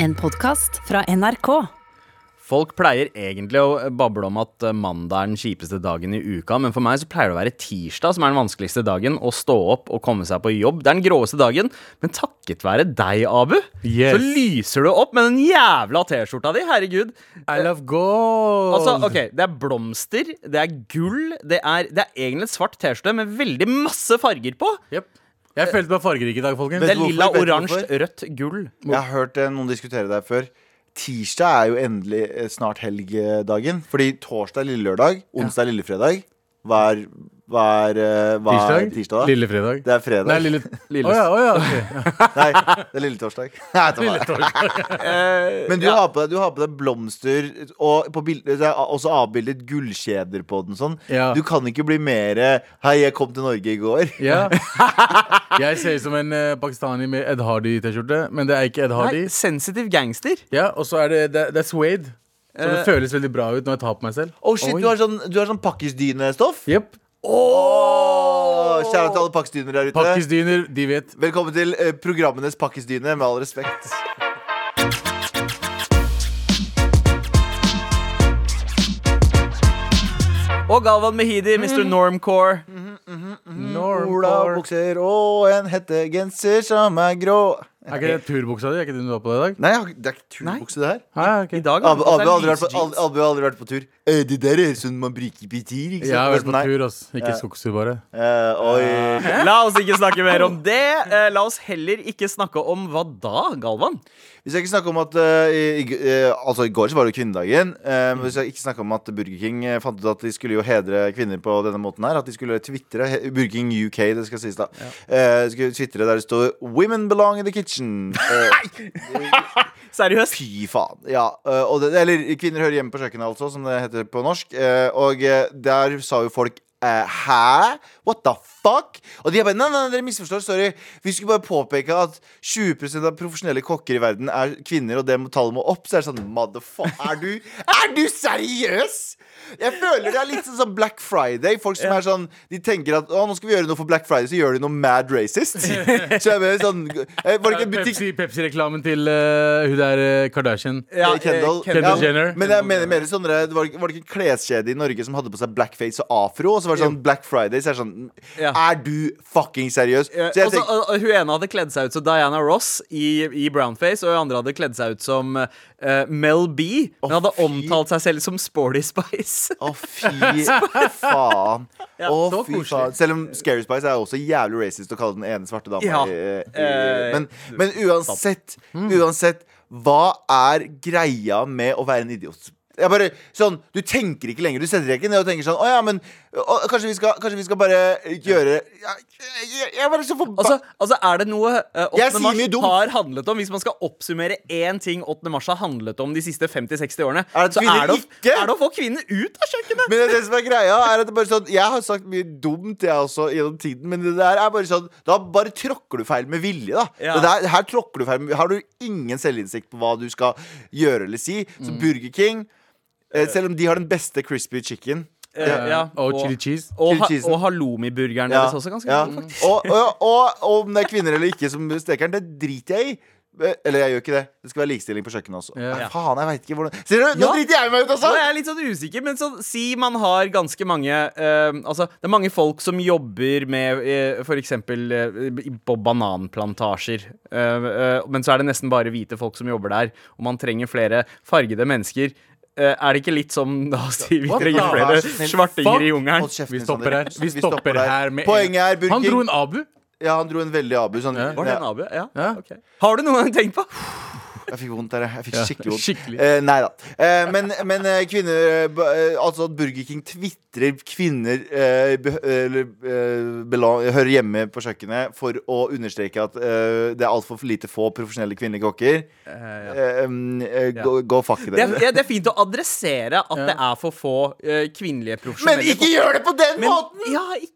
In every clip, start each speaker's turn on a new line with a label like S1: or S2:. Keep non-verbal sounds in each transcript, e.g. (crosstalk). S1: En podkast fra NRK.
S2: Folk pleier egentlig å bable om at eh, mandag er den kjipeste dagen i uka, men for meg så pleier det å være tirsdag som er den vanskeligste dagen. Å stå opp og komme seg på jobb. Det er den gråeste dagen, men takket være deg, Abu,
S3: Yes.
S2: så lyser du opp med den jævla T-skjorta di. Herregud.
S3: I love gold!
S2: Altså, ok, Det er blomster, det er gull, det er, det er egentlig et svart T-skjorte med veldig masse farger på.
S3: Jep. Jeg følte meg fargerik i dag, folkens.
S2: Det
S3: Det
S2: er
S4: hvorfor?
S2: lilla,
S4: Vet du
S2: oransje,
S4: hvorfor?
S2: rødt, gull.
S4: Jeg har hørt eh, noen diskutere det her før. Tirsdag er jo endelig eh, snart helgdagen. Fordi torsdag er lille lørdag, onsdag er lille fredag. Hva er, hva er, eh, hva er
S3: tirsdag?
S4: tirsdag, da?
S3: Lille fredag?
S4: Det er fredag.
S3: Nei,
S4: (laughs)
S3: lille Å ja, å ja. ok.
S4: Nei, det er lille
S3: (laughs)
S4: torsdag. Nei, ta meg. (laughs)
S3: Eh,
S4: Men du, har på deg, du har på deg blomster, og på bild- det er også avbildet gullkjeder på den. Sånn.
S3: Ja.
S4: Du kan ikke bli mer eh, 'Hei, jeg kom til Norge i går'.
S3: ja. (laughs) Jeg ser ut som en eh, pakistani med Ed Hardy-T-skjorte, men det er ikke Ed Hardy.
S2: Nei, sensitiv gangster.
S3: Ja, Og så er det, det, det er suede. Så det
S2: Eh.
S3: føles veldig bra ut når jeg tar på meg selv.
S4: Å, shit, du har sånn, du har sånn pakkisdynestoff.
S3: Jep.
S4: Å, Kjære til alle pakkisdynere der ute.
S3: Pakkisdyner, de vet.
S4: Velkommen til eh, programmenes pakkisdyne, med all respekt.
S2: Og Galvan Mehidi, Mr. Normcore.
S3: Norm Core.
S4: Olabukser og en hettegenser som er grå.
S3: Er ikke det turbuksa di? Er ikke det du har på deg i dag?
S4: Nei, jeg har ikke- det er ikke turbukse, det her.
S3: Ah, ok.
S2: I dag altså,
S4: Abu
S2: det
S4: Abu har
S2: er
S4: aldri, vært på-
S2: lyse jeans.
S4: Al- Abu har aldri vært på tur. Eh, det der er sånn man bruker på tur, ikke sant?
S3: Jeg har vært på
S4: Nei.
S3: tur, ass. Ikke skogstur, bare.
S4: Eh, oi.
S2: La oss ikke snakke mer om det. Eh, La oss heller ikke snakke om hva da, Galvan?
S4: Vi skal ikke snakke om at eh, i, i- eh, Altså, i går så var det jo kvinnedagen. eh, men vi skal ikke snakke om at Burger King eh, fant ut at de skulle jo hedre kvinner på denne måten her. At de skulle twitre he- Burger King UK, det skal sies da. Eh, skulle twitre der det står 'Women belong in the (laughs) kitchen'. Eh,
S2: Seriøst?
S4: Fy faen. Ja, øh, og det, eller Kvinner hører hjemme på kjøkkenet, altså, som det heter på norsk. Eh, Og eh, der sa jo folk eh, Hæ? What the fuck? Og de er bare Nei, nei, dere misforstår. Sorry. Vi skulle bare påpeke at 20 av profesjonelle kokker i verden er kvinner, og det må- tallet må opp. Så er det sånn Motherfuck. Er du Er du seriøs?! Jeg føler det er litt sånn som Black Friday. Folk som er sånn De tenker at å, nå skal vi gjøre noe for Black Friday, så gjør de noe mad racist. Så jeg bare sånn eh, Var det ikke en butikk
S3: Pepsi- Pepsi-reklamen til eh, hun der eh, Kardashian.
S2: Ja,
S4: Eh, Kendall.
S2: eh, Kendall
S4: Ja,
S3: Jenner.
S4: Men jeg mener mer sånn det var, ikke- var det ikke en kleskjede i Norge som hadde på seg blackface og afro? Og så var det sånn Black Friday. Så er det sånn
S2: Ja.
S4: Er du fucking seriøs? Så
S2: Eh,
S4: jeg
S2: og så,
S4: tenker,
S2: og- og hun ene hadde kledd seg ut som Diana Ross i, i brownface, og hun andre hadde kledd seg ut som eh, Mel B. Hun
S4: Å,
S2: hadde
S4: fy.
S2: omtalt seg selv som Sporty Spice.
S4: å, fy faen. Å,
S3: så
S4: fy
S3: koselig.
S4: faen. Selv om Scary Spice er også jævlig racist å kalle den ene svarte dama
S2: Ja.
S4: i- i-
S2: Eh, Mm.
S4: men, men uansett, uansett Hva er greia med å være en idiot? Jeg bare, sånn, Du tenker ikke lenger. Du setter deg ikke ned og tenker sånn Å ja, men å, kanskje, vi skal, kanskje vi skal bare gjøre Jeg, jeg, jeg er bare så forbanna
S2: Altså, altså, er det noe eh, 8.
S4: Jeg sier
S2: mars
S4: mye dumt.
S2: har handlet om? Hvis man skal oppsummere én ting 8. mars har handlet om de siste 50-60 årene,
S4: Er det at
S2: så
S4: kvinner
S2: er det, å,
S4: ikke-
S2: er det å få kvinner ut av kjøkkenet!
S4: Men det, er det som er greia er at det bare sånn Jeg har sagt mye dumt jeg også gjennom tiden, men det der er bare sånn Da bare tråkker du feil med vilje, da.
S2: Ja.
S4: Det der, her tråkker du feil med, Har du ingen selvinnsikt på hva du skal gjøre eller si? Så
S2: Mm.
S4: Burger King eh, Selv om de har den beste crispy chicken
S2: Eh, ja,
S3: Og chili cheese.
S2: Og,
S4: Chili
S2: ha,
S4: cheesen.
S2: og halloumi-burgeren
S4: Ja,
S2: deres også. Ganske
S4: ja.
S2: god, faktisk.
S4: og, og, og, og om det er kvinner eller ikke som steker den, det driter jeg i. Eh, Eller jeg gjør ikke det. Det skal være likestilling på kjøkkenet også.
S3: Ja.
S4: Nei, faen, jeg vet ikke hvordan Ser du, nå
S2: Ja.
S4: driter jeg meg ut, altså!
S2: Nå er jeg litt sånn usikker, men så, si man har ganske mange eh, Altså, det er mange folk som jobber med eh, for eksempel eh, i- på bananplantasjer. Eh, eh, men så er det nesten bare hvite folk som jobber der, og man trenger flere fargede mennesker. Eh, er det ikke litt som da å si vi
S3: What
S2: trenger
S3: the-
S2: flere
S4: Vær så snill.
S2: svartinger i jungelen?
S4: Hold kjeften
S3: Vi
S4: din,
S3: stopper
S4: Sander.
S3: her. Vi
S4: Vi
S3: stopper
S4: her.
S3: her med
S4: Poenget er, Burger
S3: Han dro
S4: King-
S3: en abu.
S4: Ja, han dro en veldig abu. Sånn,
S3: Ja.
S2: Var Eh, det en abu? Ja.
S3: Ja.
S2: ok. Har du noen gang tenkt på
S4: Jeg fikk vondt der, jeg. jeg fikk
S3: Ja,
S4: skikkelig vondt.
S3: skikkelig.
S4: Eh, nei da. Eh, men men eh, kvinner eh, b- eh, Altså at Burger King tvitrer kvinner eh, be, eller, eh, bela- hører hjemme på kjøkkenet for å understreke at eh, det er altfor lite få profesjonelle kvinnelige kokker. Eh, mm, eh, Gå gå fuck i
S2: det
S4: det.
S2: er, det er fint å adressere at det er for få eh, kvinnelige
S4: Men
S2: profesjonelle
S4: ikke gjør det på den
S2: Men-
S4: måten!
S2: Ja, ikke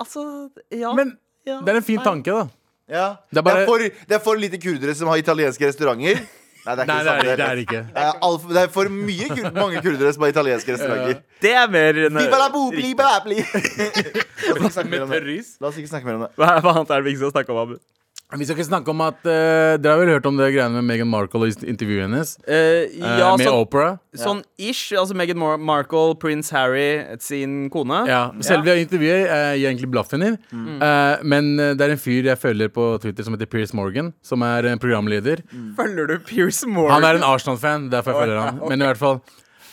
S2: Altså, ja.
S3: Men
S2: ja.
S3: det er en fin
S2: Nei.
S3: tanke, da.
S4: Ja.
S3: Det
S4: Det,
S3: er bare-
S4: er for, det er for lite kurdere som har italienske restauranter. Nei, det er ikke
S3: Nei, det er
S4: samme
S3: det, det er ikke.
S4: Det er, alt- det er for mye kur mange kurdere som har italienske restauranter.
S2: Det er mer enn
S4: Bibalabobli,
S2: Riktig.
S3: (laughs)
S4: balabli. La oss ikke snakke mer om det.
S3: Tørris?
S4: La oss ikke snakke mer om det.
S2: Hva hva annet er det vi ikke skal snakke om, Abu?
S3: Vi skal ikke snakke om at eh, Dere har vel hørt om det greiene med Meghan Markle og intervjuet hennes?
S2: Eh,
S3: eh,
S2: ja,
S3: med
S2: sånn,
S3: Opera?
S2: sånn ish. Altså Meghan Mar Markle, prins Harry sin kone.
S3: Ja. Selve intervjuet eh, gir egentlig blaffen i. Eh, men eh, det er en fyr jeg følger på Twitter som heter Piers Morgan, som er en programleder.
S2: Følger du Pierce Morgan?
S3: Han er en Arsenal-fan, derfor jeg
S2: Å,
S3: følger
S2: ja,
S3: han. Men i hvert fall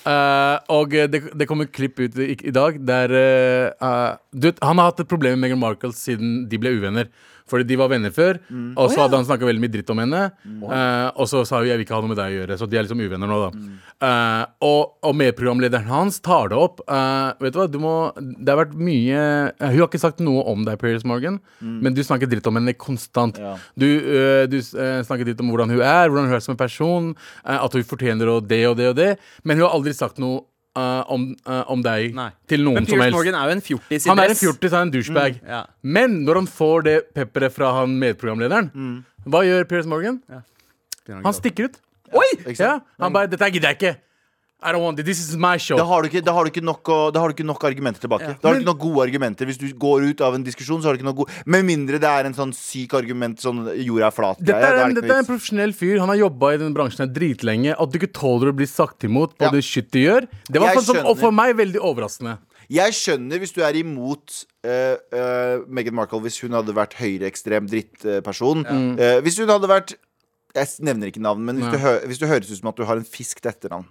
S3: eh, Og eh, det, det kom et klipp ut i, i dag der eh, eh, Du vet, han har hatt et problem med Meghan Markle siden de ble uvenner. Fordi de var venner før,
S2: Mm.
S3: og så hadde han snakka veldig mye dritt om henne. eh, og så sa hun 'jeg vil ikke ha noe med deg å gjøre', så de er liksom uvenner nå, da.
S2: Mm.
S3: Eh, og, og medprogramlederen hans tar det opp. eh, vet du hva, du må Det har vært mye eh, Hun har ikke sagt noe om deg, Paris Morgan,
S2: Mm.
S3: men du snakker dritt om henne konstant.
S4: Ja.
S3: Du, øh, du øh, snakket litt om hvordan hun er, hvordan hun er som en person. øh, at hun fortjener å det og det og det. Men hun har aldri sagt noe øh, om, øh, om deg
S2: Nei.
S3: til noen
S2: Men
S3: som
S2: Pierce
S3: helst.
S2: Morgan er jo en fjortis i
S3: han er en
S2: dress.
S3: fjortis, han er en douchebag.
S2: ja.
S3: Men når han får det pepperet fra han medprogramlederen,
S2: Mm.
S3: hva gjør Pierce Morgan? Han stikker ut.
S2: Oi!
S4: Ikke
S3: Ja,
S4: sant?
S2: Mm.
S3: han bare 'Dette gidder jeg ikke'. I don't want it. This is my show.
S4: Da har, du ikke, da, har du ikke nok å, da har du ikke nok argumenter tilbake. Da har du ikke nok gode argumenter Hvis du går ut av en diskusjon, så har du ikke nok gode Med mindre det er en sånn syk argument sånn jorda er flat.
S3: Dette
S4: greie,
S3: er,
S4: da
S3: en,
S4: det
S3: dette er
S4: ikke
S3: en
S4: noe vits.
S3: profesjonell fyr. Han har jobba i denne bransjen her dritlenge. At du ikke tåler å bli sagt imot på
S4: Ja.
S3: det shit du gjør, det var
S4: Jeg
S3: sånn som, og
S4: skjønner.
S3: for meg veldig overraskende.
S4: Jeg skjønner hvis du er imot eh, eh, Meghan Markle hvis hun hadde vært høyreekstrem drittperson. Eh, hvis hun hadde vært Jeg s- nevner ikke navn, men hvis du, hø hvis du høres ut som at du har en fisk til etternavn.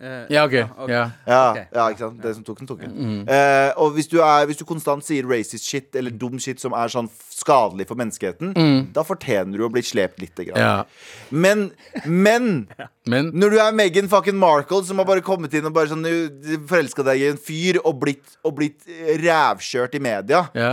S2: Eh,
S3: Ja, ok. Mm.
S2: ok.
S3: Ja.
S4: Ja,
S2: Ok.
S4: ja, ikke sant? Det som tok den, tok den. Eh, og hvis du, er, hvis du konstant sier racist shit eller dum shit som er sånn f- skadelig for menneskeheten, da fortjener du å bli slept lite grann.
S3: Mm. ja.
S4: Men, men
S3: Men
S4: når du er Meghan fucking Markle, som har bare kommet inn og bare sånn forelska deg i en fyr og blitt, og blitt eh, rævkjørt i media,
S3: ja.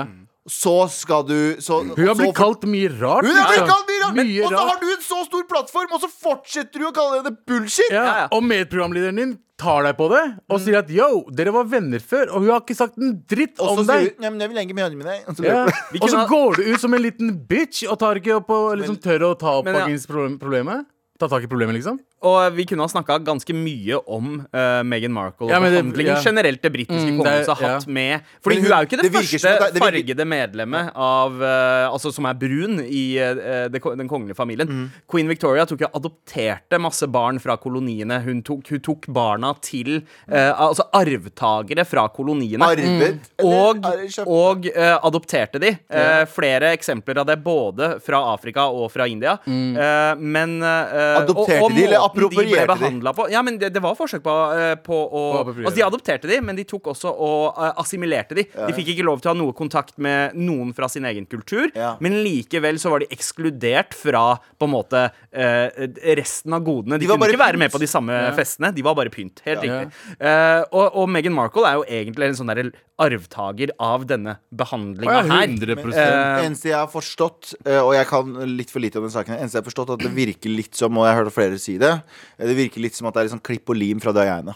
S4: så skal du så,
S3: Hun har
S4: Mm. så
S3: blitt
S4: for-
S3: kalt mye rart.
S4: Hun har blitt
S3: liksom.
S4: kalt mye rart!
S3: Mye
S4: Og så har
S3: rart.
S4: du en så stor plattform, og så fortsetter du å kalle henne bullshit!
S3: Ja.
S2: Ja, ja.
S3: Og medprogramlederen din tar deg på det og
S4: Mm.
S3: sier at yo, dere var venner før, og hun har ikke sagt en dritt om
S4: Og så sier
S3: deg.
S4: hun «Nei, men 'jeg vil henge med med deg'. Og så (laughs)
S3: Ja.
S4: løper du.
S2: Vi
S3: Og så
S2: kunne ha-
S3: går du ut som en liten bitch og tar ikke opp og liksom tør å ta opp
S2: Men ja.
S3: fuckings problem- problemet. Ta tak i problemet, liksom.
S2: Og vi kunne ha snakka ganske mye om eh, Meghan Markle og
S3: Ja, men det-
S2: behandlingen
S3: ja.
S2: generelt det britiske
S3: Mm, det er-
S2: kongehuset har hatt
S3: ja.
S2: med Fordi
S4: Men
S2: hun,
S4: hun-
S2: er jo ikke det,
S4: det virker
S2: første
S4: som at det- det virker-
S2: fargede medlemmet av eh, Altså som er brun i eh, det, ko- den kongelige familien. Queen Victoria tok jo adopterte masse barn fra koloniene. Hun tok, hun tok barna til eh, Altså arvtakere fra koloniene.
S4: Arvet?
S2: Mm. Og,
S4: eller er det kjøpt?
S2: og eh, adopterte de. Eh, flere eksempler av det både fra Afrika og fra India. Eh, men eh,
S4: Mm. Adopterte
S2: og, og
S4: de, eller
S2: måten
S4: approprierte de?
S2: ble behandlet På. Ja, men det, det var forsøk på, eh, på å
S3: Å appropriere.
S2: Altså, de adopterte de, men de tok også og eh, assimilerte de. De fikk ikke lov til å ha noe kontakt med noen fra sin egen kultur,
S4: Ja.
S2: men likevel så var de ekskludert fra på en måte eh, resten av godene. De,
S4: De var
S2: kunne
S4: bare
S2: ikke være med
S4: pynt.
S2: på de samme festene. De var bare pynt. Helt
S3: Ja.
S2: riktig. Eh, og, og Meghan Markle er jo egentlig en sånn der arvtaker av denne behandlinga
S3: Å ja,
S2: her.
S3: 100%.
S2: Eh,
S4: Det eneste jeg har forstått, eh, og jeg kan litt for lite om den saken, det eneste jeg har forstått at det virker litt som, og jeg har hørt flere si det, eh, det virker litt som at det er litt sånn klipp og lim fra Diana.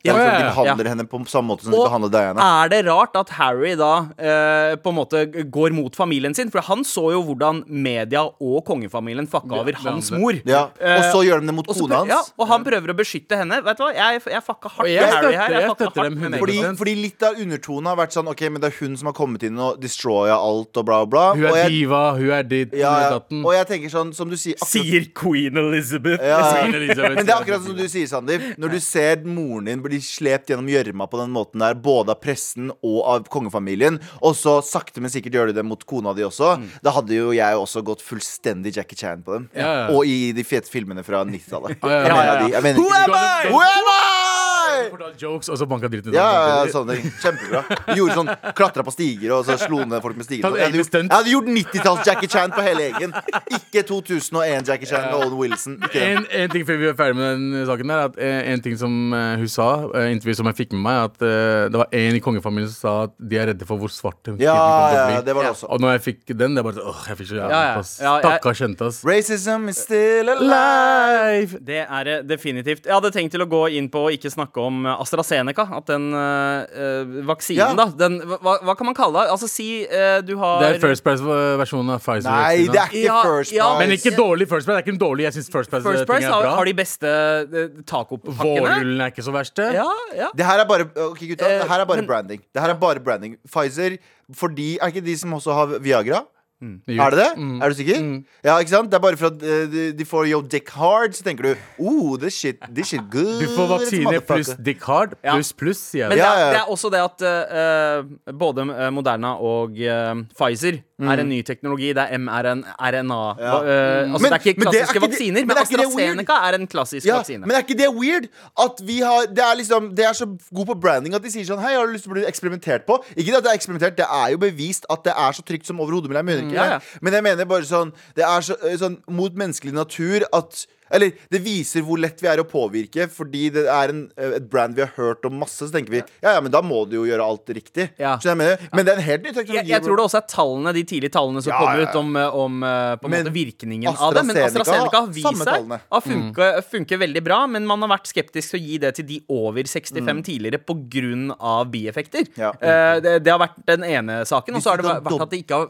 S4: Det
S2: Ja,
S4: er
S2: ja,
S4: liksom, de
S2: ja,
S4: behandler henne på samme måte som de
S2: Og
S4: behandler Diana.
S2: Er det rart at Harry da eh, på en måte går mot familien sin? For han så jo hvordan media og kongefamilien fucka over
S3: det
S2: hans
S3: andre.
S2: mor.
S4: Ja. Og
S2: Eh,
S4: så gjør de det mot
S2: og så
S4: kona
S2: prø- ja,
S4: hans.
S2: og han prøver å beskytte henne. Vet du hva, Jeg, jeg fucka hardt
S3: Og
S2: med
S3: jeg
S2: Harry
S3: støtter-
S2: her.
S3: jeg
S2: fucka
S3: støtter
S2: hardt
S3: dem
S2: med
S3: 100%.
S2: Meghan.
S4: Fordi, fordi litt av undertonen har vært sånn Ok, men det er hun som har kommet inn og destroya alt og bla, bla.
S3: Hun
S4: og
S3: er
S4: jeg,
S3: diva, hun er ditt, hun
S4: ja,
S3: er
S4: ja,
S3: datten.
S4: og jeg tenker sånn, som du sier akkurat-
S2: Sier queen Elizabeth.
S4: Ja, ja.
S3: Queen Elizabeth.
S4: Men det er akkurat som du sier, Sandeep. Når du ser moren din bli slept gjennom gjørma på den måten der, både av pressen og av kongefamilien, og så sakte, men sikkert gjør du det mot kona di også, da hadde jo jeg også gått fullstendig Jackie Chan på dem.
S3: Mm. Ja, ja.
S4: Og i de fete filmene fra 90-tallet.
S3: Ja, ja,
S4: Jeg mener
S2: ja, ja.
S4: de. Jeg mener
S2: Who
S4: ikke
S2: am I?
S4: Who am I?
S3: Fortalt Jokes, og så banka dritten ut
S4: Ja,
S3: av
S4: ja, sånn.
S3: dem.
S4: ja, sånne ting. Kjempebra. Gjorde sånn, Klatra på stiger og så slo ned folk med stiger.
S3: Tatt
S4: Jeg hadde
S3: egne
S4: gjort,
S3: stunt.
S4: jeg hadde gjort 90-talls Jackie Chan på hele egen. Ikke 2001 Jackie Chan med Owen Wilson. Ikke det.
S3: en, en ting før vi er ferdig med den saken her, at eh, en ting som eh, hun sa, eh, intervju som jeg fikk med meg, at eh, det var en i kongefamilien som sa at de er redde for hvor svart hun
S4: Ja,
S3: kommer til
S4: ja,
S3: å bli.
S4: det var det
S2: Ja.
S4: også.
S3: Og når jeg fikk den, det er bare sånn åh, jeg fikk så jævlig
S2: Ja, ja.
S3: pass.
S2: Ja, jeg-
S3: Stakkars jente, ass.
S4: Racism is still alive.
S3: Life!
S2: Det er det definitivt. Jeg hadde tenkt til å gå inn på og ikke snakke om eh, AstraZeneca. At den øh, øh, vaksinen,
S4: Ja.
S2: da den, hva, hva kan man kalle det? Altså si øh, du har
S3: Det er First Price-versjonen av Pfizer.
S4: Nei, det er ikke
S2: Ja,
S4: first
S2: ja,
S4: price.
S3: Men ikke dårlig First Price. Det er ikke en dårlig, jeg syns First
S2: First
S3: Price-ting
S2: Price
S3: er
S2: har,
S3: bra.
S2: har de beste øh, tacopakkene.
S3: Vårrullen er ikke så verst, det.
S2: Ja, ja.
S4: Det her er bare, ok, gutta,
S2: Eh,
S4: det her er bare
S2: men-
S4: branding. Det her er bare branding Pfizer, fordi Er ikke de som også har Viagra?
S3: Jo.
S4: Er det det?
S2: Mm.
S4: Er du sikker? Ja, ikke sant? Det er bare for at eh, de, de får yo dick hard, så tenker du oh, this shit, this shit good.
S3: Du får vaksine pluss
S4: motherfucker."
S3: dick hard
S2: Ja.
S3: pluss pluss, sier
S2: Men
S3: jeg.
S4: Ja,
S2: det, er,
S4: ja, ja.
S2: det er også det at eh, eh, både eh, Moderna og eh, Pfizer er en ny teknologi. Det er mRNA.
S4: Mm. Ja.
S2: eh, altså, det er ikke
S4: Men- men det
S2: klassiske
S4: er ikke det-
S2: vaksiner,
S4: men
S2: men
S4: er ikke det weird?
S2: AstraZeneca er en klassisk
S4: Ja,
S2: vaksine.
S4: men er ikke det weird? At vi har, det, er liksom, det er så god på branding at de sier sånn Hei, har du lyst til å bli eksperimentert på? Ikke at det er eksperimentert, det er jo bevist at det er så trygt som overhodet mulig. Jeg mener ikke
S2: ja, ja.
S4: det. Men jeg mener bare sånn Det er så, eh, sånn mot menneskelig natur at eller, Det viser hvor lett vi er å påvirke, fordi det er en, eh, et brand vi har hørt om masse. Så tenker vi ja, ja, men da må du jo gjøre alt riktig.
S2: Ja.
S4: Så jeg mener, men det er en helt ny teknologi.
S2: jeg, jeg tror det også er tallene, de tidlige tallene som
S4: Ja,
S2: kom
S4: ja, ja.
S2: ut om, eh, om eh, på en
S4: Men
S2: måte virkningen av det. Men
S4: AstraZeneca
S2: AstraZeneca har
S4: har samme
S2: vist seg
S4: tallene. Mm.
S2: å funke, funke veldig bra, men man har vært skeptisk til å gi det til de over 65 tidligere pga. bieffekter.
S4: Mm. Ja.
S2: Eh, det, det har vært den ene saken. Og
S4: Hvis
S2: så har
S4: du
S2: det
S4: kan
S2: vært at det ikke har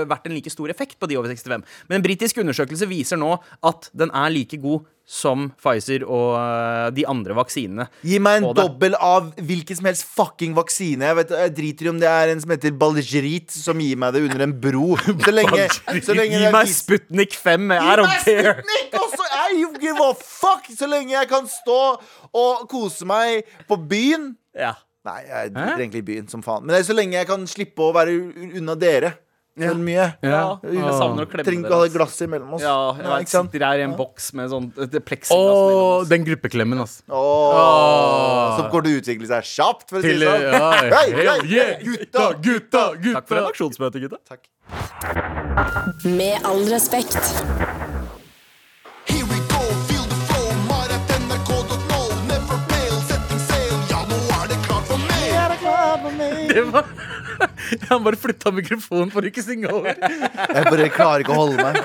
S2: eh, vært en like stor effekt på de over 65. Men en britisk undersøkelse viser nå at den er like god som Pfizer og eh, de andre vaksinene.
S4: Gi meg en
S2: Få det.
S4: dobbel av hvilken som helst fucking vaksine. Jeg, vet, jeg driter i om det er en som heter Balgerit, som gir meg det under en
S2: (laughs)
S4: bro. Så lenge, så
S2: Gi
S4: lenge det er
S2: meg
S4: vis-
S2: Sputnik 5. I
S4: Gi
S2: don't
S4: meg
S2: care.
S4: Sputnik også! I don't give a fuck! Så lenge jeg kan stå og kose meg på byen.
S2: Ja.
S4: Nei, jeg driter egentlig i byen som faen. Men det er så lenge jeg kan slippe å være u- unna dere. For mye.
S2: Ja.
S3: Ja.
S2: Jeg savner å klemme
S4: Trenger
S2: dere,
S4: ikke å ha
S2: ass.
S4: det glasset imellom oss.
S2: Ja, jeg
S4: Nei,
S2: vet,
S4: ikke sant?
S2: sitter her i en boks med sånn et plexiglass
S3: Og
S2: mellom oss.
S3: den gruppeklemmen, ass.
S4: Åh, Så kommer det til å utvikle seg kjapt, for å si
S3: Til
S4: det sånn.
S3: ja,
S4: Hei,
S3: hell
S4: hei,
S3: yeah, gutta,
S4: gutta,
S3: gutta,
S2: Takk for
S3: gutta.
S2: redaksjonsmøtet, gutta.
S4: Takk.
S1: Med all respekt.
S5: Here we go, feel the flow, maratnrk.no, never fail, setting sail, ja nå er det klart for mer.
S3: Det var (laughs) Han bare flytta mikrofonen for ikke å synge over.
S4: Jeg bare klarer ikke å holde meg.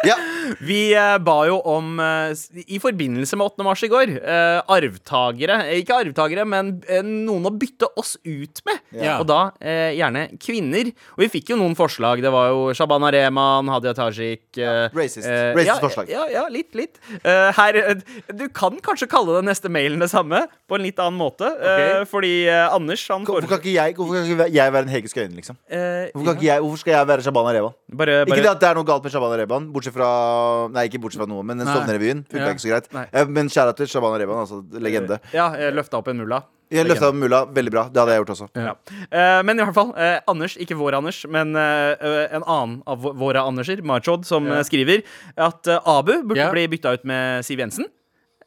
S4: Ja.
S2: Vi eh, ba jo om, eh, s- i forbindelse med 8. mars i går, eh, arvtagere eh, Ikke arvtagere, men eh, noen å bytte oss ut med.
S3: Ja.
S2: Og da eh, gjerne kvinner. Og vi fikk jo noen forslag. Det var jo Shabana Rehman, Hadia Tajik eh,
S4: racist.
S2: eh,
S4: Racist
S2: ja,
S4: forslag.
S2: Ja, ja, litt, litt. Eh, her, eh, du kan kanskje kalle den neste mailen det samme, på en litt annen måte. eh, fordi eh, Anders, han
S4: Hvorfor kan
S2: foreslår
S4: ikke jeg, hvorfor kan ikke jeg være en Hege Skøyen, liksom?
S2: eh,
S4: Hvorfor, kan ikke jeg, hvorfor skal jeg være Shabana Rehman?
S2: bare,
S4: Ikke
S2: bare,
S4: det at det er noe galt med Shabana Rehman, bortsett fra Nei, ikke bortsett fra noe, men den
S3: Nei.
S4: Stovner-revyen funka
S3: Ja.
S4: ikke så greit.
S2: Nei.
S4: Eh, Men kjære til Shabana Rehman, altså legende.
S2: Ja, jeg løfta opp en mulla.
S4: Jeg løfta mulla, veldig bra. Det hadde jeg gjort også.
S2: Ja. Eh, men i hvert fall, eh, Anders, ikke vår Anders, men eh, eh, en annen av vå- våre Anderser, Marchod, som
S3: Ja.
S2: eh, skriver at eh, Abu burde
S3: Ja.
S2: bli bytta ut med Siv Jensen.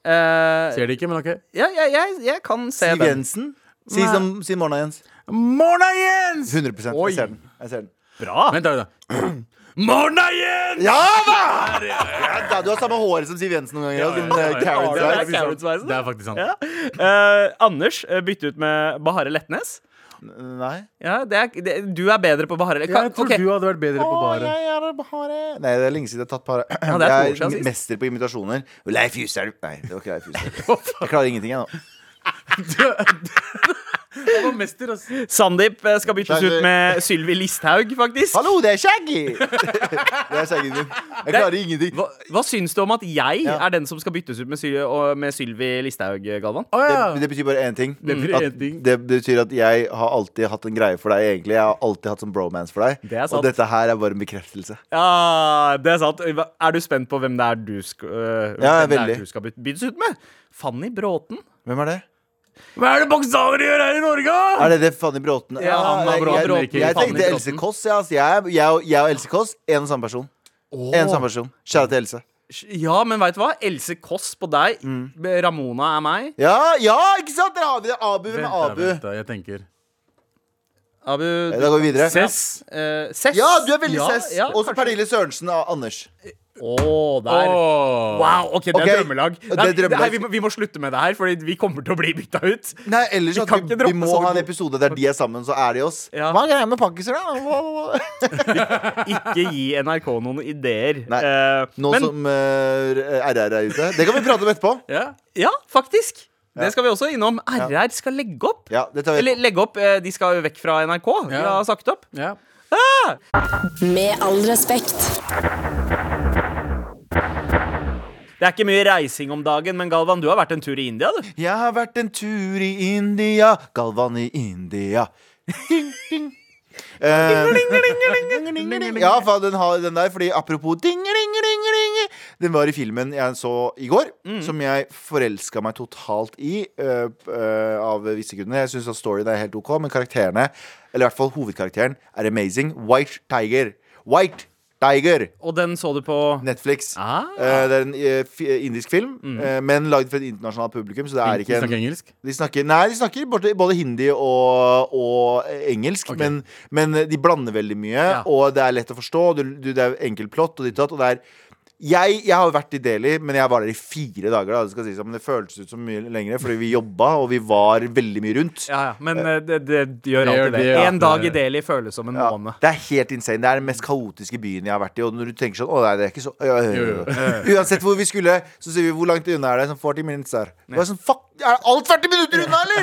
S2: Eh,
S3: Ser det ikke, men OK.
S2: ja, ja, jeg, jeg kan se
S4: Siv
S2: den.
S4: Jensen? Si, som, si Morna Jens.
S3: Morna, Jens!
S4: 100
S3: Oi.
S4: Jeg ser den. Jeg ser den.
S2: Bra!
S3: Vent, da. da. (clears throat) Morna, Jens!
S4: Ja da! Ja, da! Du har samme håret som Siv Jensen noen ganger.
S3: ja,
S4: altså, den, eh, Karen
S2: det er
S4: der.
S2: Carrots-sveisen.
S3: Det er faktisk sant.
S2: Ja. Eh, Anders, eh, bytte ut med Bahare Letnes.
S4: Nei.
S2: Ja, det er, det, du er bedre på Bahare Kan-
S3: Jeg tror
S2: ok.
S3: du hadde vært bedre på
S4: Å,
S3: baret.
S4: jeg er bare Nei, det er lenge siden jeg har tatt bare
S2: det er to år
S4: Jeg
S2: siden
S4: er
S2: sist.
S4: mester på imitasjoner. Leif Juster Nei, det var ikke Leif Juster. Jeg klarer ingenting, jeg nå.
S3: Du var mester, ass.
S2: Sandeep eh, skal byttes
S4: Sandeep.
S2: ut med Sylvi Listhaug, faktisk.
S4: Hallo, det er Shaggy! Det er Shaggy min. Jeg klarer ingenting.
S2: Hva, hva syns du om at jeg
S4: Ja.
S2: er den som skal byttes ut med, Syl og- med Sylvi Listhaug, Galvan?
S3: Å ja.
S4: Det, det betyr bare én ting.
S3: Det betyr
S4: At
S3: én ting.
S4: det betyr at jeg har alltid hatt en greie for deg, egentlig. Jeg har alltid hatt sånn bromance for deg.
S2: Det er sant.
S4: Og dette her er bare en bekreftelse.
S2: Ja, det er sant. Hva- Er du spent på hvem det er du, sk øh,
S4: Ja,
S2: hvem det
S4: veldig.
S2: er du skal byt- byttes ut med? Fanny Bråten?
S4: Hvem er det?
S3: Hva er det bokstaver gjør her i Norge?
S4: Er det det Fanny Bråten?
S2: Ja, han
S4: nei,
S2: er bra-
S4: jeg, jeg,
S2: Bråten, Fanny
S4: tenkte
S2: Bråten.
S4: Else Kåss, ja, altså. jeg. Jeg, og- jeg og Else Kåss, én og samme person. En samme person. Kjære til Else.
S2: Ja, men veit du hva? Else Kåss på deg.
S4: Mm.
S2: Ramona er meg.
S4: Ja, ja, ikke sant? Der har vi det. Abu med
S3: Vent, da,
S4: Abu.
S3: vent, da. Jeg tenker
S2: Abu
S4: Da går vi videre.
S3: Sess.
S2: eh, Sess.
S4: Ja, du er veldig
S2: Ja,
S4: sess.
S2: Ja,
S4: Også Pernille Sørensen og Anders.
S2: Å, der.
S3: Åh.
S2: Wow, ok, det er
S4: Ok,
S2: drømmelag.
S4: det er
S2: Nei, det her,
S4: drømmelag.
S2: vi, må, vi må slutte med det her, Fordi vi kommer til å bli bytta ut.
S4: Nei, ellers
S2: Vi
S4: at
S2: kan
S4: vi,
S2: ikke droppe
S4: vi må
S2: så
S4: ha en
S2: god-
S4: episode der de er sammen, så er de oss.
S2: Ja.
S4: Hva er greia med pakkiser, da?
S2: Ikke gi NRK noen ideer.
S4: Nei.
S2: Eh,
S4: Nå
S2: men
S4: som eh, RR er ute. Det kan vi prate om etterpå.
S3: Ja.
S2: ja, faktisk. Det skal vi også innom. RR skal legge opp.
S4: Ja, det tar vi
S2: Eller legge opp, eh, de skal jo vekk fra NRK. Vi
S3: Ja.
S2: har sagt opp.
S3: ja.
S1: Med all respekt.
S2: Det er ikke mye reising om dagen, men Galvan, du har vært en tur i India, du.
S4: (laughs) Jeg har vært en tur i India, Galvan i India. Ding, ding. Eh, ja, for den har den der, fordi apropos ding-ling-ling-ling Den var i filmen jeg så i går, som jeg forelska meg totalt i øh, øh, av visse grunner. Jeg syns at storyen er helt OK, men karakterene, eller i hvert fall hovedkarakteren, er amazing. White Tiger. White Tiger!
S2: Og den så du på
S4: Netflix.
S2: Ah.
S4: Eh, det er en eh, fi- indisk film, eh, men lagd for et internasjonalt publikum. Så det er
S3: Vi
S4: ikke
S3: snakker
S4: en
S3: engelsk?
S4: de snakker, nei, de snakker både, både hindi og, og engelsk, men, men de blander veldig mye.
S3: Ja.
S4: Og det er lett å forstå, du, du, det er enkel plott og ditt og datt. Og det er jeg, jeg har jo vært i Delhi, men jeg var der i fire dager. Da, det skal sies, men det føltes ut som mye lengre, fordi vi jobba og vi var veldig mye rundt.
S2: Ja, ja, men eh, det, det gjør
S3: Det gjør
S2: alltid det.
S3: det, ja.
S2: En dag i Delhi føles som en
S4: Ja,
S2: måned.
S4: det er helt insane. Det er den mest kaotiske byen jeg har vært i. Og når du tenker sånn Å nei, det er ikke så
S3: Jo,
S4: (laughs) Uansett hvor vi skulle, så sier vi hvor langt unna er det? Sånn 40 minutes der. Det var sånn, fuck, Er alt 40 minutter unna,
S2: (laughs)
S4: eller?!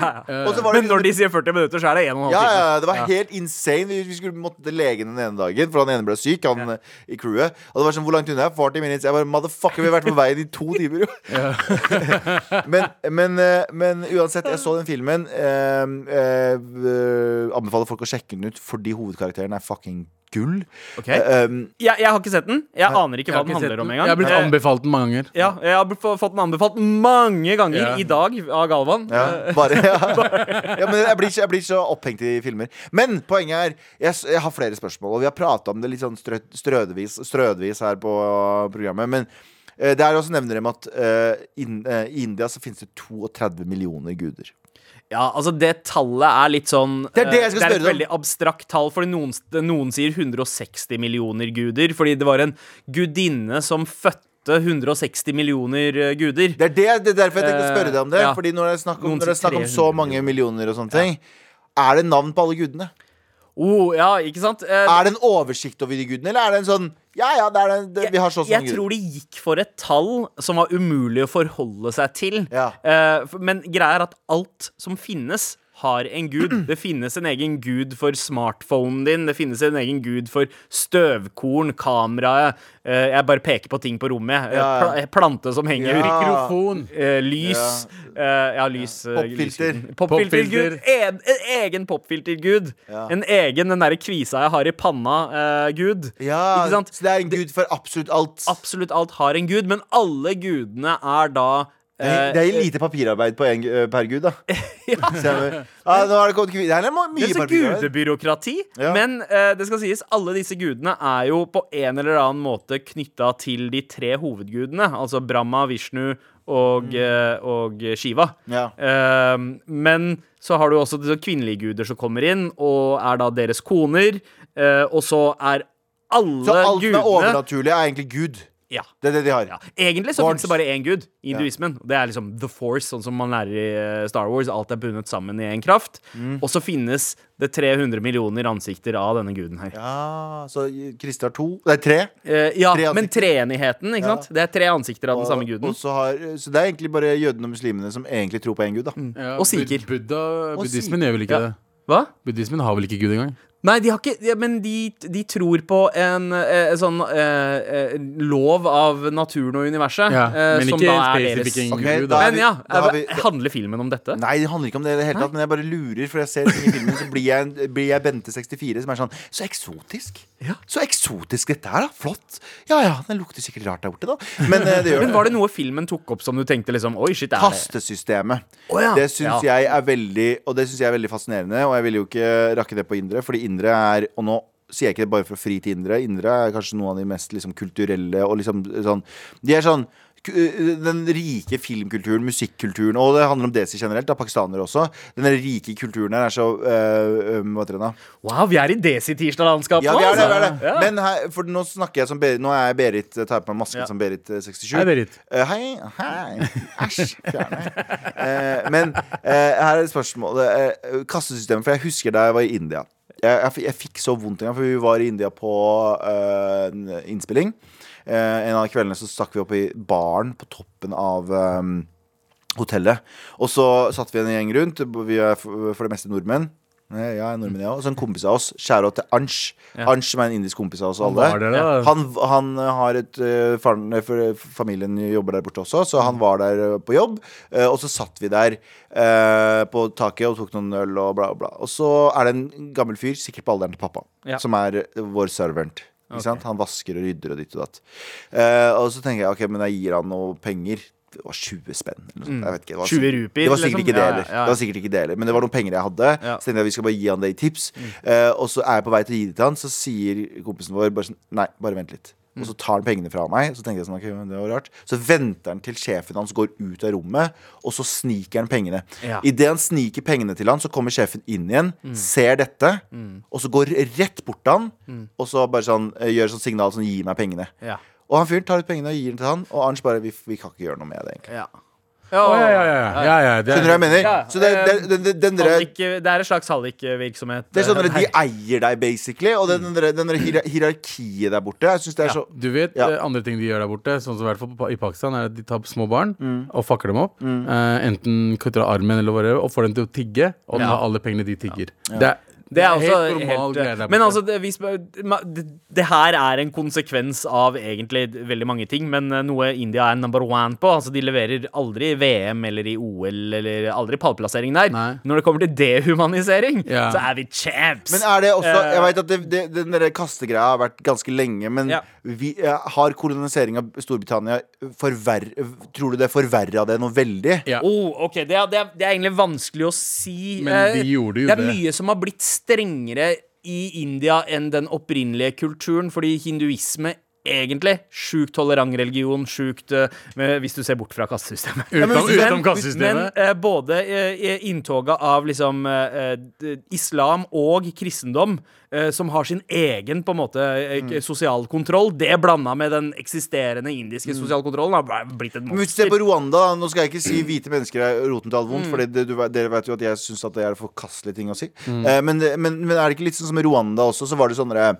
S4: Og så var det
S2: Men når de sier 40 minutter, så er det 1 12
S4: Ja,
S2: time.
S4: ja, det var helt insane. Vi, vi skulle måtte til legen den ene dagen, for han ene ble syk. Han eh, i crewet Og det var sånn, hvor langt unna er jeg? 40 minutes? Jeg bare, motherfucker, vi har vært på veien i to timer, jo. (laughs) men, men, eh, men uansett, jeg så den filmen. Eh, eh, eh, anbefaler folk å sjekke den ut fordi hovedkarakteren er fucking gull.
S2: Ok.
S4: Eh, um,
S2: Jeg, jeg har ikke sett den. Jeg aner ikke hva den handler om engang.
S3: Jeg har blitt
S2: Eh,
S3: anbefalt den mange ganger.
S2: ja, jeg har blitt- fått den anbefalt mange ganger
S3: Ja.
S2: i dag av Galvan.
S4: ja,
S2: (laughs)
S4: bare, ja. ja, men jeg blir, ikke- jeg blir så opphengt i filmer. Men poenget er, jeg, s- jeg har flere spørsmål, og vi har prata om det litt sånn strø, strødvis, strødvis her på programmet. Men eh, det er også nevner dem at eh, inn- eh, i India så finnes det 32 millioner guder.
S2: Ja, altså Det tallet er litt sånn
S4: Det er det
S2: eh,
S4: jeg skal
S2: det er
S4: spørre
S2: et
S4: deg om.
S2: veldig abstrakt tall, fordi noen, noen sier 160 millioner guder. Fordi det var en gudinne som fødte 160 millioner eh, guder.
S4: Det er det, det er derfor jeg tenkte å spørre deg om det.
S2: Eh, ja.
S4: Fordi når det er snakk om,
S2: Noen
S4: når det er
S2: sier
S4: snakk om så
S2: 300
S4: mange millioner og sånne ting, er det navn på alle gudene?
S2: Oh, ja, ikke sant? Eh,
S4: Er det en oversikt over de gudene, eller er det en sånn Ja, ja, det er den, det, vi har så og så
S2: jeg
S4: mange guder.
S2: tror de gikk for et tall som var umulig å forholde seg til.
S4: Ja.
S2: Eh, f- men greia er at alt som finnes, har en
S4: (clears throat)
S2: gud. Det finnes en egen gud for smartphonen din. Det finnes en egen gud for støvkorn, kameraet eh, Jeg bare peker på ting på rommet. Ja.
S4: Ja, ja.
S2: Pla plante som henger.
S4: Ja.
S3: Mikrofon.
S2: Eh, lys. Ja, ja lys. eh,
S4: Popfilter.
S2: lysguden. Popfiltergud. En, en egen popfiltergud.
S4: Ja.
S2: En egen den derre kvisa jeg har i eh, panna-gud.
S4: Ja,
S2: Ikke sant?
S4: Så det er en gud for absolutt alt.
S2: absolutt alt har en gud, men alle gudene er da
S4: Det er- det
S2: eh,
S4: er lite papirarbeid på en, gu- eh, per
S2: (laughs)
S4: gud, da. Stemmer. Ja, nå har det kommet kvi- Det her er ma-
S2: det
S4: mye
S2: er så
S4: papirarbeid.
S2: gudebyråkrati,
S4: Ja.
S2: men eh, det skal sies alle disse gudene er jo på en eller annen måte knytta til de tre hovedgudene, altså Brahma, Vishnu og, eh, og Shiva.
S4: Mm. Ja.
S2: Eh, men så har du også disse kvinnelige guder som kommer inn, og er da deres koner. eh, og så er alle
S4: Så alt som
S2: gudene
S4: er overnaturlig, er egentlig gud.
S2: Ja.
S4: Det er det de har.
S2: Ja. Egentlig så
S4: Gods.
S2: finnes det bare én gud i hinduismen. Det er liksom the force, sånn som man lærer i eh, Star Wars. Alt er bundet sammen i én kraft.
S4: Mm.
S2: Og så finnes det 300 millioner ansikter av denne guden her. Ja,
S4: Ja, så Kristi har to Nei, tre.
S2: ja
S4: Tre ansikter.
S2: men treenigheten, ikke
S4: Ja.
S2: sant? Det er tre ansikter av den samme
S4: Og
S2: guden.
S4: så, har, så det er egentlig bare jødene og muslimene som egentlig tror på én gud, da.
S3: Ja,
S2: Og
S3: bud-
S2: sikher.
S3: Buddha,
S4: Og
S3: buddhismen gjør vel ikke
S2: Ja.
S3: det?
S2: Hva?
S3: Buddhismen har vel ikke Gud engang?
S2: Nei, de har ikke ja, Men de, de tror på en eh, sånn eh, eh, lov av naturen og universet,
S3: Ja,
S2: eh,
S3: men
S2: som
S3: ikke
S2: da er deres.
S3: spesifikk
S4: Ok,
S3: Gud.
S4: da
S3: Da.
S4: er
S2: Men ja,
S4: Da har vi-
S2: handler filmen om dette?
S4: Nei, det handler ikke om det i det hele tatt, men jeg bare lurer, for jeg ser ting i filmen, så blir jeg, en- blir jeg Bente64, som er sånn Så eksotisk!
S2: Ja.
S4: Så eksotisk dette er, da! Flott! Ja ja, den lukter sikkert rart der borte, da. Men eh, det gjør
S2: Men var det noe filmen tok opp som du tenkte liksom Oi, shit, er det
S4: Kastesystemet.
S2: Å ja.
S4: Det syns
S2: Ja.
S4: jeg er veldig Og det syns jeg er veldig fascinerende. Og jeg ville jo ikke rakke det på indre, fordi indre er Og nå sier jeg ikke det bare for å fri til indre. Indre er kanskje noen av de mest liksom, kulturelle og liksom sånn De er sånn ku- den rike filmkulturen, musikkulturen Og det handler om desi generelt, da, pakistanere også. Den rike kulturen her er så øh, øh, Hva heter den, da?
S2: Wow, vi er i Desi-tirsdag-landskapet
S4: Ja,
S2: nå,
S4: vi er det, vi er
S2: altså.
S4: det. Men her, for nå snakker jeg som Berit Nå er jeg Berit, eh, tar jeg på meg masken
S2: Ja.
S4: som Berit eh, 67
S3: Hei, Berit.
S4: Eh, hei, hei, æsj, fjerne Eh, Men eh, her er spørsmålet eh, Kassesystemet, for jeg husker da jeg var i India Jeg, jeg, f- jeg fikk så vondt en gang For vi var i India på eh, en innspilling Eh, En av kveldene så stakk vi opp i baren På toppen av eh, hotellet Og så satt vi en gjeng rundt Vi er f- for det meste nordmenn Eh, Ja, jeg er nordmenn, jeg òg. Så en kompis av oss, skjæra til Ansh. Ansh som er en indisk kompis av oss alle.
S3: var der da.
S4: han, han har et eh, faren, eh, for- Familien jobber der borte også,
S2: Mm.
S4: så han var der eh, på jobb. eh, og så satt vi der eh, på taket og tok noen øl og bla, bla. Og så er det en gammel fyr, sikkert på alderen til pappa,
S2: Ja.
S4: som er eh, vår servant. Ikke sant? Han vasker og rydder og ditt og datt. Eh, og så tenker jeg ok, men jeg gir han noe penger. Det var 20 spenn. Eller noe sånt. Jeg vet ikke, det var
S2: 20
S4: sikkert-
S2: Mm. rupier,
S4: Det var sikkert
S2: liksom.
S4: ikke det
S2: Ja,
S4: heller.
S2: ja, ja.
S4: Det var sikkert ikke det heller, men det var noen penger jeg hadde.
S2: Ja. Mm.
S4: Så tenkte jeg vi skal bare gi han det i tips. Eh, og så er jeg på vei til å gi det til han, så sier kompisen vår bare sånn Nei, bare vent litt. Og
S2: Mm.
S4: så tar han pengene fra meg. Så tenkte jeg sånn, ok, men det var rart Så venter han til sjefen hans går ut av rommet, og så sniker han pengene.
S2: Ja. Mm.
S4: Idet han sniker pengene til han, så kommer sjefen inn igjen, ser dette, og så går rett bort til han, og så bare sånn, eh, gjør sånn signal sånn gi meg pengene.
S2: Mm. Ja.
S4: Og han fyren tar ut pengene og gir dem til han, og Arnst bare vi, vi kan ikke gjøre noe med det, egentlig.
S2: Ja.
S3: Å, ja, ja, ja, ja, ja, det
S4: Skjønner du hva jeg mener?
S2: Ja, eh,
S4: Så det, det, det, det, den dere-
S2: Hallik, eh, det er en slags hallikvirksomhet.
S4: Det er sånn at
S2: eh,
S4: De
S2: her.
S4: eier deg, basically. Og den, den, der- den der hier- hierarkiet der borte. Jeg synes det er så
S3: Du vet
S4: Ja.
S3: eh, andre ting de gjør der borte, sånn som i hvert fall på- i Pakistan, er at de tar små barn
S2: Mm.
S3: og fucker dem opp. Eh, enten kutter av armen eller whatever, og får dem til å tigge, og
S2: Ja.
S3: tar alle pengene de tigger. Det, er,
S2: Det er også
S3: helt normal
S2: helt,
S3: greie der borte.
S2: Men altså, det, hvis, ma- det, det her er en konsekvens av egentlig veldig mange ting, men eh, noe India er number one på. Altså, De leverer aldri i VM eller i OL eller aldri pallplassering der.
S3: Nei.
S2: Når det kommer til dehumanisering,
S3: Ja.
S2: så er vi champs!
S4: men er det også
S2: Eh,
S4: Jeg vet at det, det, den der kastegreia har vært ganske lenge, men
S2: Ja.
S4: vi, eh, har kolonisering av Storbritannia forverr... Tror du det forverra det noe veldig?
S3: Ja.
S2: Oh, ok, det er, det, er, det er egentlig vanskelig å si.
S3: Men de
S2: Eh,
S3: gjorde jo
S2: det er
S3: det.
S2: mye som har blitt strengere i India enn den opprinnelige kulturen, fordi hinduisme egentlig Sjukt tolerant religion, sjukt eh, men Hvis du ser bort fra kastesystemet.
S3: Utenom-
S2: Men-
S3: utenom
S2: Men
S3: kastesystemet.
S2: eh, både eh, inntoget av liksom eh, eh, islam og kristendom, eh, som har sin egen på en måte eh,
S3: Mm.
S2: sosial kontroll, det blanda med den eksisterende indiske
S3: Mm.
S2: sosialkontrollen har blitt et
S4: Men hvis du
S2: monster.
S4: ser på Rwanda, da, nå skal jeg ikke si hvite mennesker er roten til all
S2: Mm.
S4: vondt, for det, du, dere vet jo at jeg syns det er forkastelige ting å si.
S2: Mm.
S4: Eh, men, det- men, men er det ikke litt sånn som i Rwanda også, så var det sånne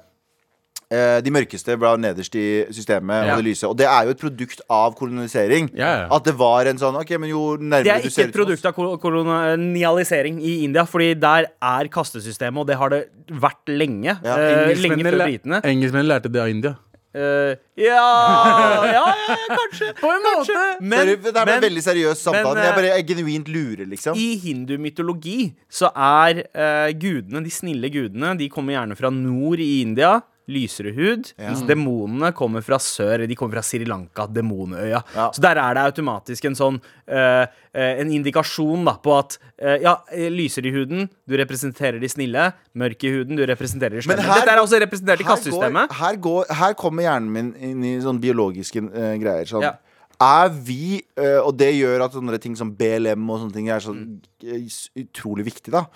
S4: eh, de mørkeste var nederst i systemet,
S2: Ja.
S4: og det lyse. Og det er jo et produkt av kolonisering.
S3: Ja, ja.
S4: At det var en sånn OK, men jo
S2: Det
S4: nærmere
S2: er
S4: du
S2: ikke
S4: ser
S2: et
S4: ut som oss
S2: produkt av kol- kolonialisering i India, fordi der er kastesystemet, og det har det vært lenge.
S4: Ja,
S2: eh, lenge før
S3: Engelskmennene læ-
S2: britene.
S3: Engelskmennene lærte det av India.
S2: Eh, ja, ja, ja, ja,
S4: (laughs)
S2: kanskje. På en kanskje. måte. Men,
S4: Sorry, det er en
S2: men
S4: veldig seriøs samtale,
S2: men,
S4: men jeg
S2: eh,
S4: bare jeg genuint lurer, liksom.
S2: i hindumytologi så er eh, gudene, de snille gudene, de kommer gjerne fra nord i India. Lysere hud. Mens demonene kommer fra sør. De kommer fra Sri Lanka, demonøya.
S4: Ja.
S2: Så der er det automatisk en sånn eh, eh, En indikasjon da på at eh, Ja, eh, lysere i huden, du representerer de snille. Mørk i huden, du representerer de slemme.
S4: her-
S2: Dette er også representert i
S4: her, går,
S2: kastesystemet.
S4: her, går, her kommer hjernen min inn i sånne biologiske eh, greier. Sånn.
S2: Ja.
S4: Er vi, eh, og det gjør at sånne ting som BLM og sånne ting er så
S2: Mm.
S4: eh, s- utrolig viktig, da.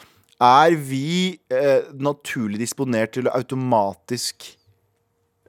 S4: Er vi eh, naturlig disponert til å automatisk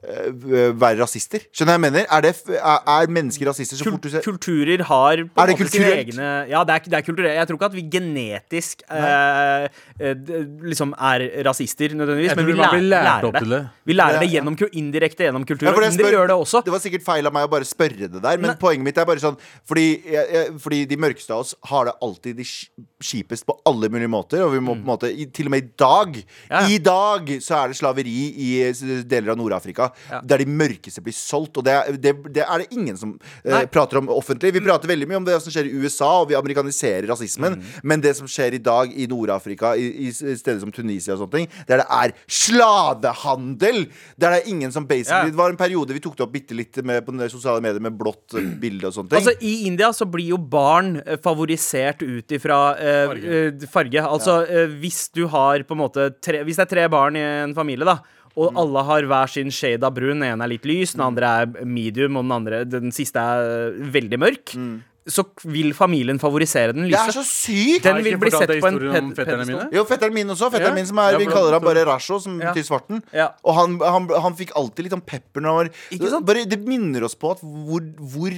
S4: eh, være rasister? Skjønner du hva jeg mener? Er, det, f- er, er mennesker rasister så
S2: Kul-
S4: fort du ser
S2: Kulturer har på en
S4: Er det
S2: måte sine
S4: kulturelt?
S2: egne Ja, det er, det er kulturelt. Jeg tror ikke at vi genetisk eh, eh, d- liksom er rasister nødvendigvis,
S3: Jeg
S2: men
S3: tror
S2: vi
S3: man
S2: lærer,
S3: blir lært
S2: lærer
S3: opp
S2: det.
S3: til det.
S2: Vi lærer
S4: Ja,
S2: det
S4: ja.
S2: gjennom, ku- indirekte gjennom kultur.
S4: Ja, for
S2: og
S4: jeg
S2: Indere
S4: spør-
S2: gjør det også.
S4: Det var sikkert feil av meg å bare spørre det der, men poenget mitt er bare sånn fordi, jeg, jeg, fordi de mørkeste av oss har det alltid de sk- kjipest på alle mulige måter, og vi må på en måte i- Til og med i dag,
S2: Mm. Ja.
S4: i dag så er det slaveri i s- deler av Nord-Afrika der de mørkeste blir solgt, og det, er- det, det er det ingen som eh,
S2: Nei. Mm.
S4: prater om offentlig. Vi prater veldig mye om det som skjer i USA, og vi amerikaniserer rasismen, men det som skjer i dag i Nord-Afrika, i, i s- steder som Tunisia og sånne ting, der det er slavehandel! Der det er ingen som
S2: Ja.
S4: basically det var en periode vi tok det opp bitte litt med, på den sosiale medier med
S2: (clears throat)
S4: blått eh, bilde og sånne ting.
S2: Altså, I India så blir jo barn eh, favorisert ut ifra eh, farge. Eh, farge. Altså, eh, hvis du har på en måte tre, Hvis det er tre barn i en familie, da. Og
S3: Mm.
S2: alle har hver sin shade av brun. Den ene er litt lys, den andre er medium, og den, andre, den siste er eh, veldig mørk.
S3: Mm.
S2: Så k- vil familien favorisere den
S4: det er
S2: lyse.
S4: så sykt!
S2: Den
S3: jeg
S2: vil
S3: ikke
S2: bli
S3: fortalt
S2: sett
S3: deg
S2: på en
S3: historien om
S2: ped-
S3: fetterne mine?
S2: pedestal.
S4: Jo, fetteren min også.
S3: Ja.
S4: Fetteren min som er,
S3: Ja,
S4: Vi
S3: for
S4: kaller
S3: det-
S4: han bare Rasho, som
S2: Ja.
S4: betyr svarten.
S2: Ja.
S4: Og han, han, han fikk alltid litt sånn pepper når han var
S2: Ikke sant?
S4: Bare, Det minner oss på at hvor, hvor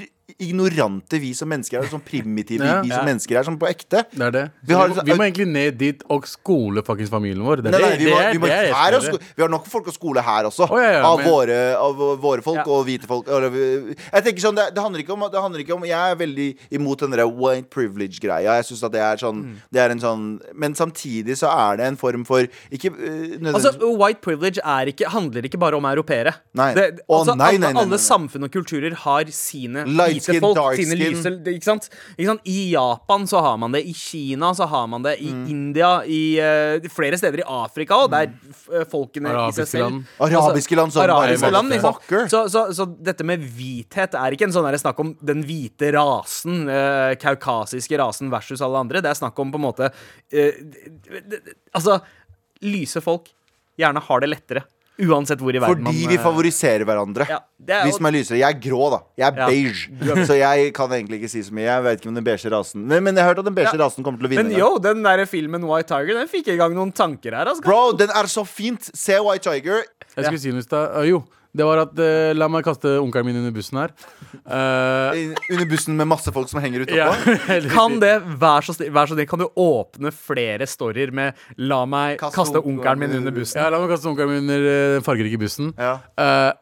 S4: ignorante vi som mennesker er. Sånn primitive
S3: Ja.
S4: vi
S3: Ja.
S4: som mennesker er, sånn på ekte.
S3: Det er det. Vi,
S4: Vi har-
S3: må,
S4: liksom
S3: vi må egentlig ned dit og skole faktisk familien vår. Det er
S4: Nei, nei,
S3: det-
S4: vi,
S3: det
S4: må,
S3: er-
S4: vi, må,
S3: det er jeg
S4: her
S3: som
S4: er sko
S3: gjør det.
S4: vi har nok folk å skole her også.
S3: Å, ja, ja,
S4: av,
S3: men-
S4: våre, av våre folk
S2: Ja.
S4: og hvite folk. Eller, vi- jeg tenker sånn, det, det, handler ikke om, det handler ikke om Jeg er veldig imot den der white privilege-greia. Jeg synes at det er sånn, det er en sånn Men samtidig så er det en form for Ikke øh,
S2: Altså,
S4: nødvendigvis
S2: White privilege er ikke, handler ikke bare om europeere.
S4: Nei.
S2: Det,
S4: Å,
S2: altså,
S4: nei, nei,
S2: alle-
S4: nei, nei,
S2: Alle
S4: nei.
S2: samfunn og kulturer har sine
S4: Light
S2: hvite
S4: skin,
S2: folk.
S4: dark
S2: sine
S4: skin.
S2: lyse, det- ikke sant? ikke sant? I Japan så har man det, i Kina så har man det, i
S4: Mm.
S2: India, i eh, flere steder i Afrika òg, der eh, folkene i seg
S3: Arabiske
S2: selv Altså,
S3: land.
S4: Arabiske land, så er det bare
S2: arabiske land ikke sant?
S4: motherfucker.
S2: så, så, så dette med hvithet er ikke en sånn der snakk om den hvite rasen, eh, kaukasiske rasen versus alle andre. Det er snakk om på en måte eh, d- d- d- Altså, lyse folk gjerne har det lettere. Uansett hvor i verden
S4: Fordi
S2: man
S4: vi
S2: eh,
S4: favoriserer hverandre.
S2: Ja, det er
S4: vi
S2: jo-
S4: som er lysere. Jeg er grå, da. Jeg er
S2: Ja.
S4: beige. Så jeg kan egentlig ikke si så mye. Jeg vet ikke om den beige rasen Men, men jeg har hørt at den beige
S2: Ja.
S4: rasen kommer til å vinne.
S2: Men
S4: en gang.
S2: yo, den der filmen White Tiger, den fikk i gang noen tanker her.
S4: (laughs)
S2: Altså.
S4: Bro, den er så fint! Se White Tiger.
S3: Jeg skulle si noe i stad. Øh, Jo, det var at eh, La meg kaste onkelen min under bussen her. (laughs) Eh,
S4: I- Under bussen med masse folk som henger utapå.
S3: ja.
S2: Kan det, vær så snill, vær så snill, kan du åpne flere storyer med 'la meg
S4: Kaste
S2: kaste
S4: onkelen
S2: onkelen min
S4: min
S2: under
S4: under
S2: bussen'?
S3: Ja, la meg kaste onkelen min under eh, den fargerike bussen.
S4: Ja.
S3: Eh,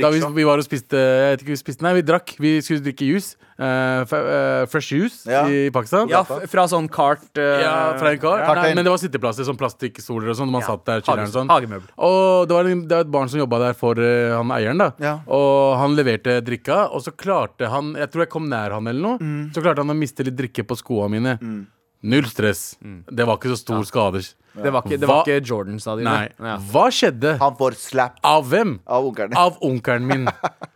S3: da vi,
S4: Riksha.
S3: vi var og spiste Jeg vet ikke vi spiste Nei, vi drakk. Vi skulle drikke juice. eh, fe- eh, fresh juice
S4: Ja.
S3: i Pakistan.
S2: Ja, f- fra sånn kart eh,
S3: Ja, fra en kar.
S4: Ja.
S3: Nei, men det var sitteplasser, sånn plastikkstoler og sånn. Man
S2: Ja,
S3: satt der, chiller'n
S2: hage-
S3: og sånn.
S2: hagemøbel.
S3: Og det var, en, det var et barn som jobba der for eh, han eieren, da.
S4: Ja.
S3: Og han leverte drikka, og så klarte han Jeg tror jeg kom nær han eller noe. Så klarte han å miste litt drikke på skoa mine. Null stress. Det var ikke så stor skader.
S2: Det var ikke, det var
S3: Hva-
S2: ikke Jordan-stadionet.
S3: Nei.
S2: Ja.
S3: Hva skjedde?
S4: Han får slap
S3: Av hvem?
S4: av onkelen.
S3: Av onkelen min.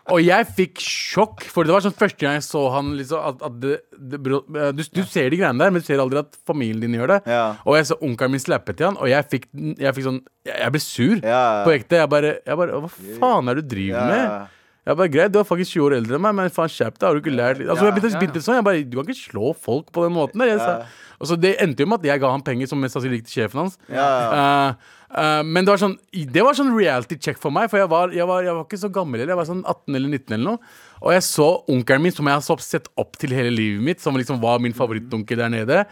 S3: Og jeg fikk sjokk, for det var sånn første gang jeg så han liksom, at, at det, det, bro- eh, du, du ser de greiene der, men du ser aldri at familien din gjør det.
S4: Ja.
S3: Og jeg så onkelen min slappe til han, og jeg fikk, jeg fikk sånn Jeg, jeg ble sur
S4: Ja.
S3: på ekte. Jeg bare, jeg bare Hva faen er det du driver
S4: Ja.
S3: med? Jeg bare, Greit, du er faktisk 20 år eldre enn meg, men faen, skjerp deg. Har du ikke lært litt? Altså,
S4: Ja,
S3: jeg begynte å spytte sånn, jeg bare, Du kan ikke slå folk på den måten der. Jeg sa. Og så Det endte jo med at jeg ga han penger, som mest sannsynlig gikk til sjefen hans. Eh, eh, men det var sånn Det var sånn reality check for meg, for jeg var, jeg var, jeg var ikke så gammel heller. Jeg var sånn 18 eller 19 eller noe. Og jeg så onkelen min, som jeg har så sett opp til hele livet mitt, som liksom var min favorittonkel der nede,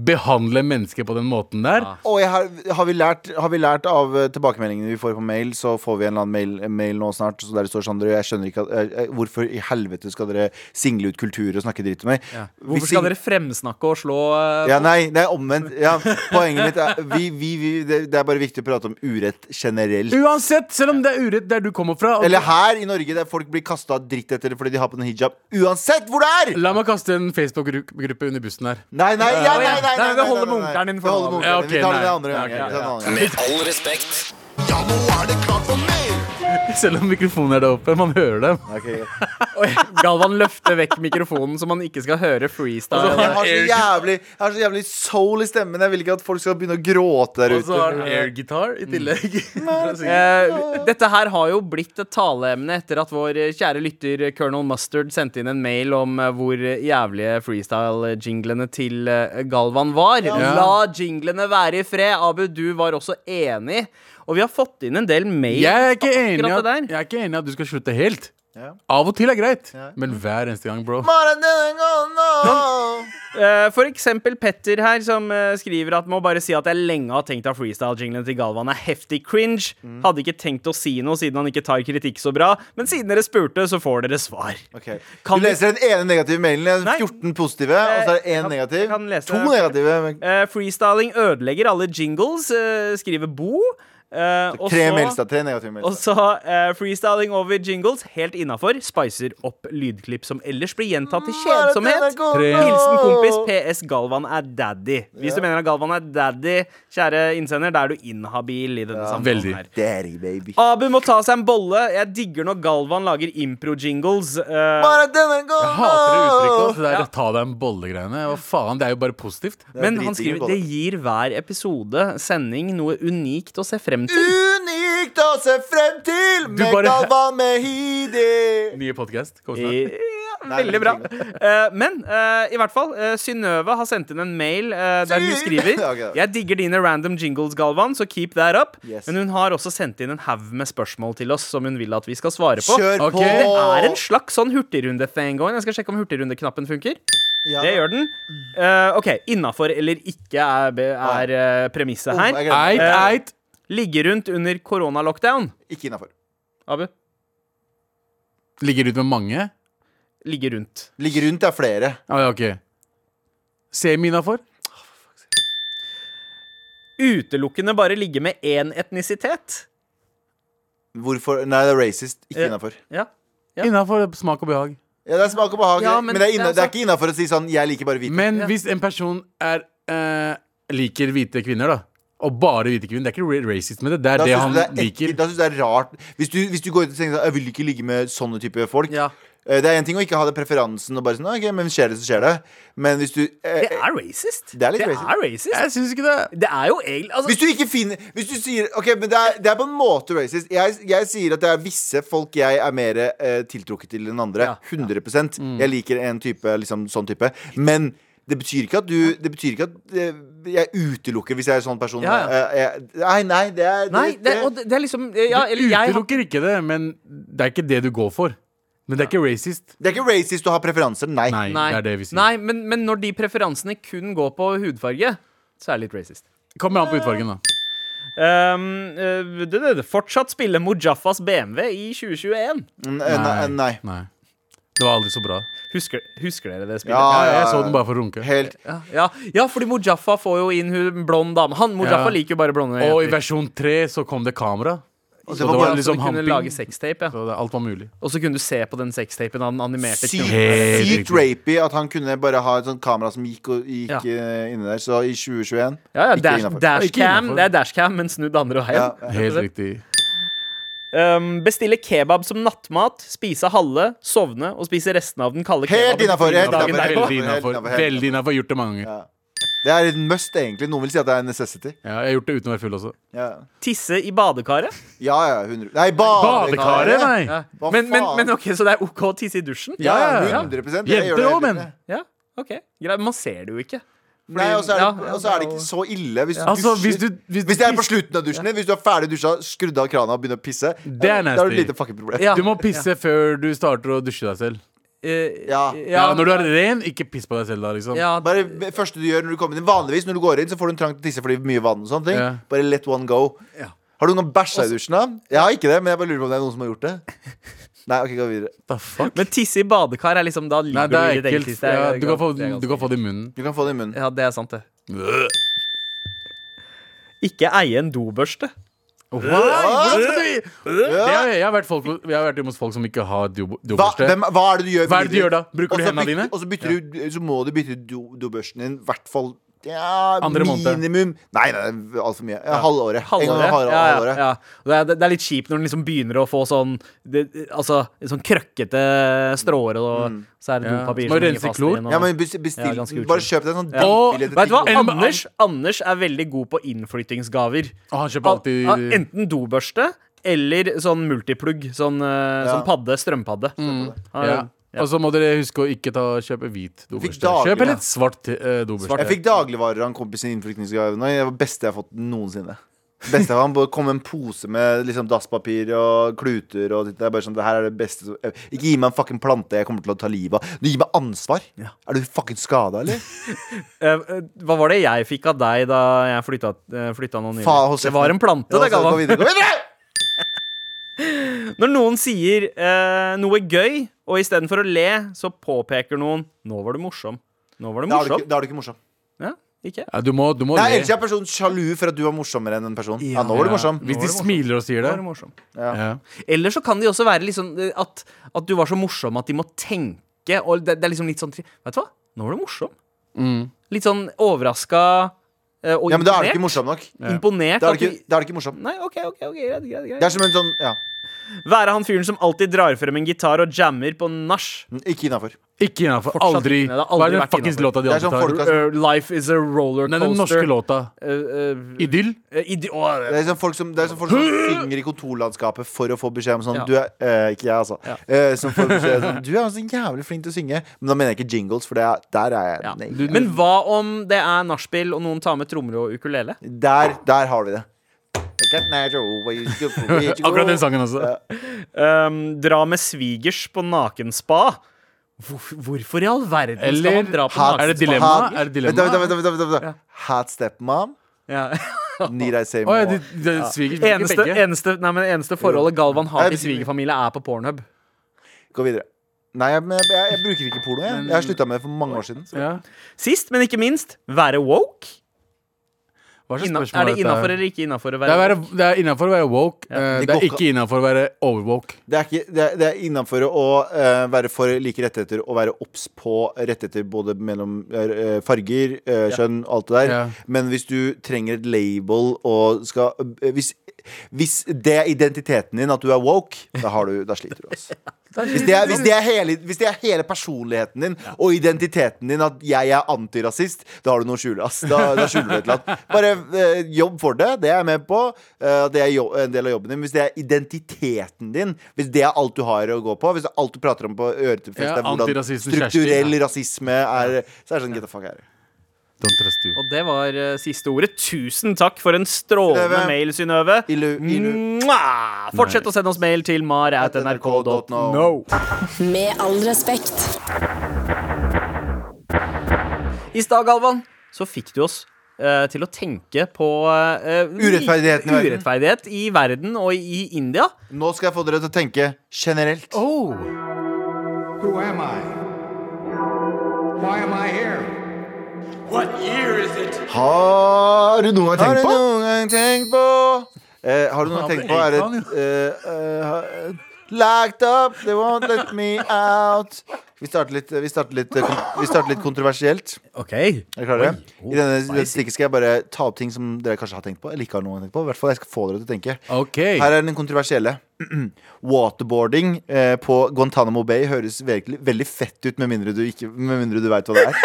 S3: behandle mennesker på den måten der.
S4: Og jeg har, har, vi lært, har vi lært av eh, tilbakemeldingene vi får på mail, så får vi en eller annen mail, en mail nå snart så der det står sånn dere, Jeg skjønner ikke at, eh, eh, Hvorfor i helvete skal dere single ut kultur og snakke dritt om meg? Vi
S2: Hvorfor skal
S4: sing-
S2: dere fremsnakke og slå eh,
S4: ja, nei, nei, omvendt. Ja, poenget mitt er vi, vi, vi, det, det er bare viktig å prate om urett generelt.
S3: Uansett, selv om det er urett der du kommer fra. og-
S4: Eller her i Norge, der folk blir kasta dritt etter fordi de har på en hijab. Uansett hvor det er!
S3: La meg kaste en Facebook-gruppe under bussen her.
S4: Nei, nei, ja, nei, nei, nei,
S2: Nei,
S4: nei,
S2: det holder med onkelen din for
S4: Det holder
S2: nå.
S4: med
S3: Ja,
S4: onkelen din. Vi
S3: ok,
S4: tar det
S3: nei.
S4: en andre
S3: Ja,
S4: gang.
S3: ok,
S4: Vi tar det en annen gang.
S5: Med all respekt.
S6: Ja, nå er det klart for mer!
S3: (laughs) Selv om mikrofonen er der oppe. Man hører dem.
S4: Ok.
S2: (laughs) (laughs) Oi, Galvan løfter vekk mikrofonen så man ikke skal høre freestyle.
S4: Jeg har, så jævlig, jeg har så jævlig soul i stemmen. Jeg vil ikke at folk skal begynne å gråte der
S3: Og så har
S4: ute.
S3: den airgitar i tillegg.
S2: Mm.
S3: (laughs)
S2: Eh, dette her har jo blitt et taleemne etter at vår eh, kjære lytter eh, Colonel Mustard sendte inn en mail om eh, hvor eh, jævlige freestyle-jinglene til eh, Galvan var. La jinglene være i fred. Abu, du var også enig. Og vi har fått inn en del mail.
S3: Mm. Jeg er, ikke enig i
S2: Akkurat
S3: at,
S2: det der.
S3: jeg er ikke enig i at du skal slutte helt.
S4: Ja.
S3: Av og til er greit,
S4: Ja.
S3: men hver eneste gang, bro.
S4: Bare denne gangen, nå.
S2: Eh, For eksempel Petter her, som eh, skriver at må bare si at jeg lenge har tenkt at freestyle-jinglen til Galvan er heftig cringe.
S3: Mm.
S2: Hadde ikke tenkt å si noe siden han ikke tar kritikk så bra, men siden dere spurte, så får dere svar.
S4: Ok.
S2: Kan
S4: Du
S2: vi-
S4: leser den ene negative mailen,
S2: Nei.
S4: 14 positive, og så er det én
S2: kan-
S4: negativ.
S2: jeg kan lese-
S4: To negative.
S2: Eh, freestyling ødelegger alle jingles, eh, skriver Bo. Eh, og
S4: Tre
S2: så-
S4: mails, da. Tre negative mails.
S2: Og
S4: da.
S2: så eh, freestyling over jingles, helt innafor. Spicer opp lydklipp som ellers blir gjentatt til
S4: Bare denne
S2: kjedsomhet.
S4: gangen,
S3: Tre.
S4: nå.
S2: Hilsen kompis PS Galvan er daddy. Hvis du mener at Galvan er daddy, kjære innsender, da er du inhabil i denne
S3: Veldig.
S2: samtalen her.
S4: Daddy, baby.
S2: Abu må ta seg en bolle. Jeg digger når Galvan lager impro-jingles. eh,
S4: Bare denne
S3: Jeg hater det uttrykket.
S4: gangen.
S3: altså, Det der ta deg en bolle-greiene. Hva faen, det er jo bare positivt.
S4: Det er
S2: men
S4: driting
S2: han
S4: i
S2: skriver
S4: bolle.
S2: det gir hver episode sending noe unikt å se frem til.
S4: Unikt å se frem til
S3: Du
S4: med
S3: bare-
S4: Galvan Mehidi. Eh.
S3: Nye podkast.
S2: Ja,
S4: Nei,
S2: Veldig bra. Eh, men eh, i hvert fall, eh, Synnøve har sendt inn en mail eh, der hun skriver
S4: (laughs) Ok.
S2: Jeg digger dine random jingles, Galvan, så keep that up.
S4: Yes.
S2: Men hun har også sendt inn en haug med spørsmål til oss som hun vil at vi skal svare på.
S4: Kjør
S3: Ok.
S4: på!
S2: Det er en slags sånn hurtigrunde-thing going. Jeg skal sjekke om hurtigrundeknappen funker.
S4: Ja.
S2: Det gjør den. Eh, OK. Innafor eller ikke er, er eh, premisset
S4: Oh, jeg
S2: her. Eh,
S4: glemmer.
S3: Eit, eit.
S2: Ligge rundt under koronalockdown.
S4: Ikke innafor.
S2: Abu.
S3: Ligger ut med mange?
S2: Ligge rundt.
S4: Ligge rundt er flere.
S3: Ah, ja, ok. Semi innafor?
S2: Utelukkende bare ligge med én etnisitet.
S4: Hvorfor? Nei, det er racist. Ikke
S2: Eh.
S4: innafor.
S2: Ja. Ja.
S3: Innafor smak og behag.
S4: Ja, det er smak og behag,
S2: Ja,
S4: men,
S2: men
S4: det, er inna,
S2: det er altså-
S4: det er ikke innafor å si sånn 'jeg liker bare hvite'.
S3: Men hvis en person er eh, liker hvite kvinner, da. Og bare hvite kvinner. Det er ikke ra- racist med det. Det er
S4: Da
S3: det
S4: syns
S3: han
S4: du det er
S3: liker.
S4: ekkelt, da syns du det er rart. Hvis du, hvis du går ut og tenker sånn 'jeg vil ikke ligge med sånne type folk'.
S2: Ja.
S4: Eh, Det er én ting å ikke ha det preferansen og bare sånn 'ok, men skjer det, så skjer det'. Men hvis du eh,
S2: Det er racist.
S4: Det er litt racist.
S2: racist.
S3: Jeg syns ikke det.
S2: Det er jo egentlig altså,
S4: Hvis du ikke finner Hvis du sier Ok, men det er, det er på en måte racist. Jeg, jeg sier at det er visse folk jeg er mer eh, tiltrukket til enn andre.
S2: Ja, Mm.
S4: 100 Jeg liker en type, liksom sånn type. Men det betyr ikke at du Det betyr ikke at eh, jeg utelukker hvis jeg er sånn person.
S2: Ja, ja.
S4: eh, jeg, nei, nei, det er
S2: Nei, det, og det, det er liksom ja,
S3: Du
S2: eller jeg, har-
S3: utelukker ikke det, men det er ikke det du går for. Men det er ikke racist.
S4: det er ikke racist å ha preferanser. Nei.
S3: Nei,
S2: Nei,
S3: det er det vi sier.
S2: nei men, men når de preferansene kun går på hudfarge, så er det litt racist.
S3: Kommer an på utfargen, da.
S2: Ehm, eh, det, det, det, fortsatt spille Mujaffas BMW i 2021.
S4: N- eh, Nei. nei.
S3: Nei. Det var aldri så bra.
S2: Husker, husker dere det spillet?
S4: Ja,
S3: Ja,
S4: ja,
S3: jeg så
S4: ja.
S3: den bare for å runke.
S4: Helt
S2: Ja, ja, ja, fordi Mujaffa får jo inn hun blond dame. Han Mujaffa
S3: Ja.
S2: liker jo bare blonde
S3: Og i
S2: jenter.
S3: versjon tre så kom det kamera.
S4: Og
S3: Så
S4: det var
S3: det
S4: bare-
S3: var
S2: Så
S3: liksom
S2: du kunne
S3: hamping.
S2: lage sextape, ja.
S3: Så det, alt var mulig.
S2: Og så kunne du se på den sextapen av den animerte
S4: sykt,
S2: kjolen.
S3: Helt
S4: sykt
S3: riktig.
S4: rapey at han kunne bare ha et sånt kamera som gikk, og, gikk
S2: Ja.
S4: eh, inne der. Så i 2021
S2: Ja, ja,
S4: ikke
S2: dash,
S4: innenfor.
S3: Ikke
S2: dashcam.
S3: innenfor.
S2: Det er dashcam, men snudd andre veien.
S4: Ja,
S3: Helt riktig.
S2: Um, bestille kebab som nattmat, spise halve, sovne og spise resten av den kalde
S4: Helt
S2: kebaben.
S4: innenfor, helt
S2: dagen
S4: innenfor.
S2: derpå.
S3: Veldig innafor.
S4: helt innenfor.
S3: Veldig innafor. Gjort det mange ganger.
S4: Det er et must, egentlig. Noen vil si at det er en necessity.
S3: Ja, jeg har gjort det uten å være full også.
S4: Ja,
S2: Tisse i badekaret.
S4: ja, ja 100 Nei, badekaret!
S3: Badekaret, nei!
S4: Hva
S2: Men, men,
S4: faen?
S2: men ok, så det er OK å tisse i dusjen?
S4: Ja, ja,
S3: Ja, ja, ja.
S4: 100 Jeg gjør
S3: Jenter
S4: det
S3: òg,
S4: hele
S3: men.
S4: tiden.
S2: Ja, ok. Greit, man ser det jo ikke.
S4: Nei, og så er, det-
S2: Ja, ja,
S4: og så er det ikke så ille. Hvis, du
S3: Altså,
S4: dusjer-
S3: hvis du Hvis,
S4: hvis det er på
S3: piss-
S4: slutten av dusjen din, hvis du er ferdig dusja, skrudd av krana og begynner å pisse,
S3: Det er
S4: da har du et
S3: nasty.
S4: lite fucking problem.
S2: Ja.
S3: Du må pisse før du starter å dusje deg selv.
S2: Eh,
S4: Ja.
S3: Ja, Når du er ren, ikke piss på deg selv da, liksom.
S2: ja,
S4: Bare det første du gjør når du kommer inn Vanligvis når du går inn, så får du en trang til å tisse fordi det er mye vann. og sånne ting
S3: Ja.
S4: Bare let one go. Har du noen gang bæsja i dusjen? da? Jeg har ikke det, men jeg bare lurer på om det er noen som har gjort det. Nei, ok, gå videre
S3: The fuck?
S2: Men tisse i badekar er liksom Da
S3: Nei,
S2: ligger
S3: det
S2: du i
S3: er
S2: ditt eget
S3: ekkelt.
S2: tiss. Det er-
S3: Ja, du, kan få,
S2: det er ganske-
S3: du kan få det i munnen.
S4: Du kan få det i munnen.
S2: Ja, det er sant, det. Ikke eie en dobørste.
S3: Hvordan skal du
S4: Ja.
S3: Jeg, jeg, har vært folk, jeg har vært hjemme hos folk som ikke har do-
S4: Hva,
S3: dobørste.
S4: hvem, hva er det du gjør?
S3: Hva er det du
S4: videre?
S3: gjør da? Bruker du
S4: Og så
S3: hendene
S4: bytter-
S3: dine?
S4: Og så, bytter du, så må du bytte do, dobørsten din hvert fall ja,
S3: Andre måned.
S4: minimum Nei, nei altfor mye. Ja, halvåret. En gang
S2: Halvåret.
S4: i halv-
S2: Ja, ja,
S4: halvåret.
S2: ja. Og Det, er, det er litt kjipt når den liksom begynner å få sånn det, Altså sånn krøkkete stråer, og så er det
S3: Ja.
S2: dopapir
S3: Må
S2: som henger
S3: rense
S2: fast
S3: klor.
S2: igjen, og-
S4: Mm. Ja, men bes- bestill
S2: Ja, ganske
S4: den.
S2: utrolig.
S4: Bare kjøp deg en sånn
S2: Ja.
S3: Og,
S4: drittbillett
S2: Vet du hva?
S3: En-
S2: Anders, Anders er veldig god på innflyttingsgaver.
S3: Og Ah, han kjøper
S2: Al-
S3: alltid
S2: ja, Enten dobørste eller sånn multiplugg. Sånn, eh,
S4: Ja.
S2: sånn
S4: Mm.
S2: padde. Strømpadde. Han-
S3: ja. Og så må dere huske å ikke ta, kjøpe hvit
S4: Fikk
S3: dobørste. Kjøp
S4: daglig, ja.
S3: heller et svart eh, dobørste.
S4: Jeg fikk dagligvarer av en kompis i innflytningsgave nå. Det var det beste jeg har fått noensinne. Beste jeg har, Han bare kom med en pose med liksom, dasspapir og kluter. Og det er bare sånn, det her er det beste som- Ikke gi meg en fucking plante jeg kommer til å ta livet av. Du gir meg ansvar! Er du fucking skada, eller?
S2: Eh, eh, hva var det jeg fikk av deg da jeg flytta, eh, flytta nå nylig?
S4: Faen, hold
S2: det
S4: kjeften.
S2: var en plante,
S4: Ja,
S2: det,
S4: så Gå
S2: Galvan.
S4: videre, gå videre!
S2: Når noen sier eh, noe gøy, og istedenfor å le, så påpeker noen 'Nå var du morsom'. Nå var du
S4: Da er du
S2: morsom.
S4: ikke, da er du ikke morsom.
S2: Ja, ikke?
S3: Ja, du må, du må
S4: Nei,
S3: le.
S4: ellers er personen sjalu for at du var morsommere enn en person. Ja, nå var du
S3: Ja.
S4: morsom.
S3: Hvis de smiler og sier
S2: Nå
S3: det.
S2: var du morsom.
S3: Ja.
S2: Eller så kan de også være liksom eh, at, at du var så morsom at de må tenke. Og det, det er liksom litt sånn tri- Vet du hva? Nå var du morsom. Litt sånn overraska eh, og
S4: Mm. Ja, men da er du
S2: imponert.
S4: ikke morsom nok.
S2: Imponert.
S4: Da er
S2: at
S4: du ikke,
S2: du-
S4: da er du ikke morsom.
S2: Nei, OK, ok, ok, greit. greit,
S4: Det er
S2: greit.
S4: som en sånn Ja.
S2: Være han fyren som alltid drar frem en gitar og jammer på nach.
S4: Ikke innafor.
S3: Ikke innafor.
S2: Fortsatt
S3: Aldri.
S2: inne, det har aldri
S3: Hva er den
S2: vært
S3: fuckings
S2: innenfor.
S3: låta de
S4: Det er
S3: alltid
S4: sånn folk
S3: tar?
S4: har
S2: Uh, life is a roller Eh,
S3: Nei, den norske låta. Idyll?
S2: Idi Åh,
S4: Det er sånn folk som, det er sånn
S3: (gasps)
S4: folk som synger i kontorlandskapet for å få beskjed om sånn
S2: Ja.
S4: du er, eh, Ikke jeg, altså. Eh, som får beskjed sånn, Du er så jævlig flink til å synge. Men da mener jeg ikke jingles, for det er, der er jeg
S2: ja.
S4: nei.
S2: Men hva om det er nachspiel, og noen tar med trommer og ukulele?
S4: Der, der har vi det. I got natural ways to reach you.
S3: Akkurat den sangen også.
S2: Um, dra med svigers på nakenspa? Hvorfor, hvorfor i all verden skal
S3: Eller
S2: man dra på
S4: Hat-
S3: Er det
S2: nakenspa?
S3: dilemma?
S4: Hat-
S3: Er det dilemma?
S4: Vent, vent, vent, vent, vent, vent. Hat stepmom,
S2: (laughs) Ja.
S4: need I say
S3: Å
S4: more?
S3: ja, de, de, sviger sviger
S2: Eneste,
S3: begge.
S2: eneste, nei, men eneste forholdet Galvan har til
S4: Jeg-
S2: svigerfamilie, er på pornhub.
S4: Gå videre. Nei, jeg, men jeg, jeg bruker ikke porno. Jeg, jeg har slutta med det for mange år siden.
S3: Ja.
S2: Sist, men ikke minst, være woke.
S3: Hva slags
S2: Inna,
S3: spørsmål
S2: er det
S3: dette her?
S2: innafor eller ikke innafor å
S3: Det
S2: være
S3: er, være,
S2: woke?
S3: det er innenfor å være woke. eh, det
S4: Det
S3: er
S4: går ikke-
S3: ikke innenfor å være overwoke.
S4: Det er, ikke- det er, det er innafor å eh, være for like rettigheter og være obs på rettigheter både mellom eh, farger, eh, kjønn, alt det der.
S3: Ja.
S4: Men hvis du trenger et label og skal eh, hvis, hvis det er identiteten din at du er woke, da, har du, da sliter du. Altså. Hvis det, er, hvis, det er hele, hvis det er hele personligheten din og identiteten din at jeg er antirasist, da har du noe å skjule. Ass. Da, da skjuler du et eller annet. Bare eh, jobb for det. Det er jeg med på. eh, det er jo, en del av jobben din. Hvis det er identiteten din, hvis det er alt du har å gå på, hvis det er alt du prater om på øretupfest,
S3: Ja,
S4: er hvordan
S3: antirasisten Kjersti,
S4: strukturell rasisme er Så er det sånn get the fuck out.
S3: Don't trust you.
S2: Og det var eh, siste ordet. Tusen takk for en strålende
S4: Synnøve.
S2: mail, Synnøve.
S4: Illu, illu.
S2: Mwah! Fortsett å sende oss mail til mar.nrk.no.
S1: Med all respekt.
S2: I stad, Galvan, så fikk du oss eh, til å tenke på eh,
S4: Urettferdigheten i verden.
S2: urettferdighet i verden og i India.
S4: Nå skal jeg få dere til å tenke generelt.
S3: Oh.
S7: Who am I? Why am I here?
S4: Har du noen gang
S7: Har du
S4: noen gang tenkt på eh, Har du noen gang tenkt på Er
S3: Ape
S4: det eh, eh, ha- Locked up, they won't let me out Vi starter litt, vi starter litt, eh, kon- vi starter litt kontroversielt
S2: Ok
S4: Er dere klare? I denne dette stikket skal jeg bare ta opp ting som dere kanskje har tenkt på Eller ikke har noen gang tenkt på I hvert fall jeg skal få dere til å tenke
S3: OK.
S4: her er den kontroversielle. (clears throat) Waterboarding eh, på Guantánamo Bay høres virkelig, veldig fett ut, med mindre du, ikke- med mindre du veit hva det
S2: (laughs)
S4: er.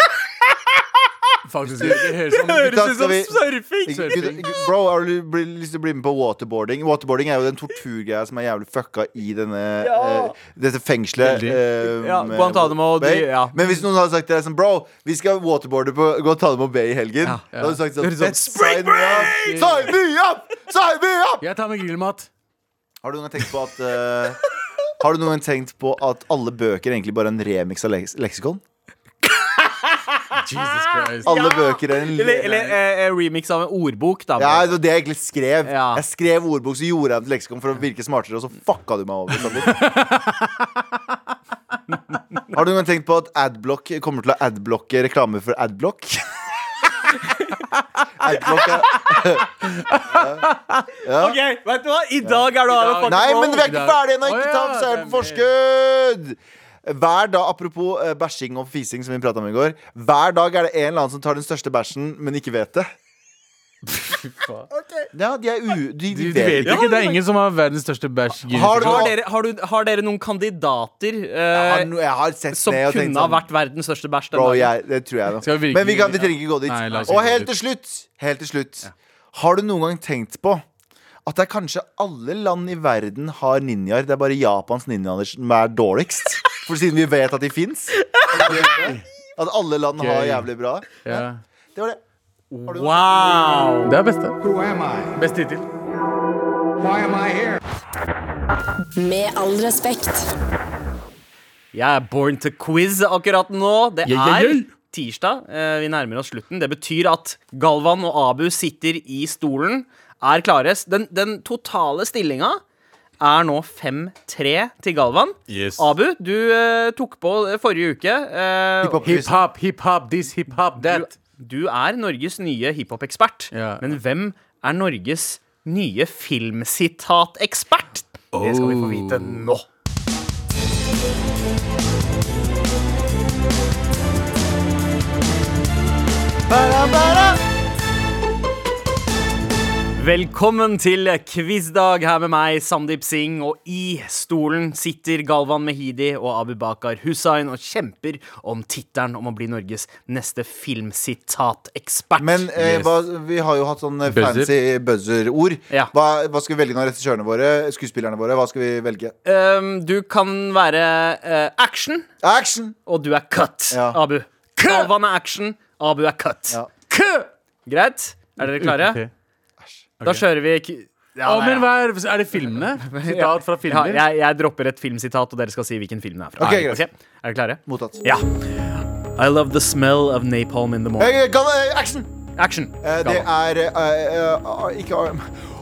S3: Faktisk, det høres sånn ut som
S4: Gutta,
S2: Høres ut
S4: skal
S2: som
S4: vi-
S2: surfing!
S4: Ikke- ikke- Bro, har du bli- lyst til å bli med på waterboarding? Waterboarding er jo den torturgreia som er jævlig fucka i denne, eh, dette fengselet. eh,
S2: Ja,
S4: med
S2: Guantanamo,
S4: Bay.
S2: de- ja.
S4: Men hvis noen hadde sagt til deg sånn Bro, vi skal waterboarde på Guantanamo Bay i helgen.
S2: Ja.
S4: Da hadde du sagt
S2: Det
S4: sånn,
S2: er sånn,
S4: "Fett, sign me up! Sign me up! Sign me up!
S3: Jeg tar med grillmat.
S4: Har du noen gang tenkt på at eh, Har du noen gang tenkt på at alle bøker egentlig bare er en remix av leks leksikon?
S3: Jesus
S2: Ah.
S3: Christ.
S4: Alle bøker er en
S2: Eller, eller eh, eh, remix av en ordbok, da.
S4: Ja, det var det jeg egentlig skrev.
S2: Ja.
S4: Jeg skrev ordbok, så gjorde jeg den til leksikon for å virke smartere, og så fucka du meg over. Sandeep. Har du noen gang tenkt på at Adblock kommer til å adblocke reklame for Adblock? (laughs) Adblock er
S2: Ok, vet du hva? I dag er du av og
S4: Nei, men vi er
S3: I
S4: ikke
S3: dag.
S4: ferdige ennå!
S3: Å
S4: Ikke
S3: ja,
S4: ta seieren på forskudd! Hver dag, Apropos eh, bæsjing og fising, som vi pratet om i går. Hver dag er det en eller annen som tar den største bæsjen, men ikke vet det. Ja, de er u... De,
S3: Du,
S4: de
S3: du vet
S4: vet ikke.
S3: ikke. Det er ingen som har verdens største bæsj.
S4: Har du-
S2: har dere, har, du, har dere noen kandidater
S4: Jeg
S2: eh,
S4: har, no- jeg har sett
S2: som
S4: ned og
S2: kunne
S4: tenkt
S2: ha
S4: sånn
S2: vært verdens største bæsj? den
S4: Bro,
S2: dagen?
S4: jeg, det tror jeg da.
S3: Skal vi virkelig-
S4: Men vi, kan, vi trenger ikke gå dit.
S3: Nei, la oss ikke
S4: og
S3: gå
S4: helt
S3: dit.
S4: til slutt, helt til slutt Har du noen gang tenkt på at det er kanskje alle land i verden har ninjaer, det er bare Japans ninjaer som er dårligst?
S3: (laughs)
S4: For siden vi vet at de fins. At alle land har
S3: Gøy.
S4: jævlig bra.
S3: Ja.
S4: Det var det. Har du noe?
S2: Wow!
S3: Det er beste.
S7: Who am I?
S3: Beste hittil.
S7: Why am I here?
S1: Med all respekt.
S2: Jeg er born to quiz akkurat nå. Det
S3: Ja, ja, ja.
S2: er tirsdag. eh, Vi nærmer oss slutten. Det betyr at Galvan og Abu sitter i stolen, er klare. Den, den totale stillinga er nå 5-3 til Galvan.
S3: Yes.
S2: Abu, du eh, tok på eh, forrige uke. eh,
S4: Hiphop-quiz.
S3: Hiphop, hiphop, this, hiphop, that.
S2: du, du er Norges nye hiphop-ekspert.
S3: Ja.
S2: Men hvem er Norges nye filmsitatekspert? Det skal vi få vite nå.
S4: Bada, bada.
S2: Velkommen til quizdag her med meg, Sandeep Singh. Og i stolen sitter Galvan Mehidi og Abubakar Hussain og kjemper om tittelen om å bli Norges neste filmsitat-ekspert.
S4: Men eh,
S3: Yes.
S4: hva, vi har jo hatt sånn eh,
S3: Buzzer.
S4: fancy buzzer-ord.
S2: Ja.
S4: Hva, hva skal vi velge nå, regissørene våre? Skuespillerne våre? Hva skal vi velge?
S2: Ehm, du kan være eh, action,
S4: Action!
S2: og du er cut,
S4: Ja.
S2: Abu. Galvan er action, Abu er cut.
S4: Ja.
S2: Kø! Greit? Er dere klare?
S3: Ok.
S2: Da kjører vi k- ja, der,
S3: Å, men
S2: ja.
S3: hva er, er det filmene? Sitat fra
S2: Ja,
S3: filmer?
S2: jeg, jeg dropper et filmsitat, og dere skal si hvilken film det er fra.
S4: Ok, greit.
S2: Ok, Er dere klare?
S4: Mottatt.
S2: Ja. I love the smell of napalm in the morning.
S4: Eh, Gal, eh, action!
S2: Action.
S4: Eh, det
S2: Galvan.
S4: er eh, eh, eh, Ikke arm.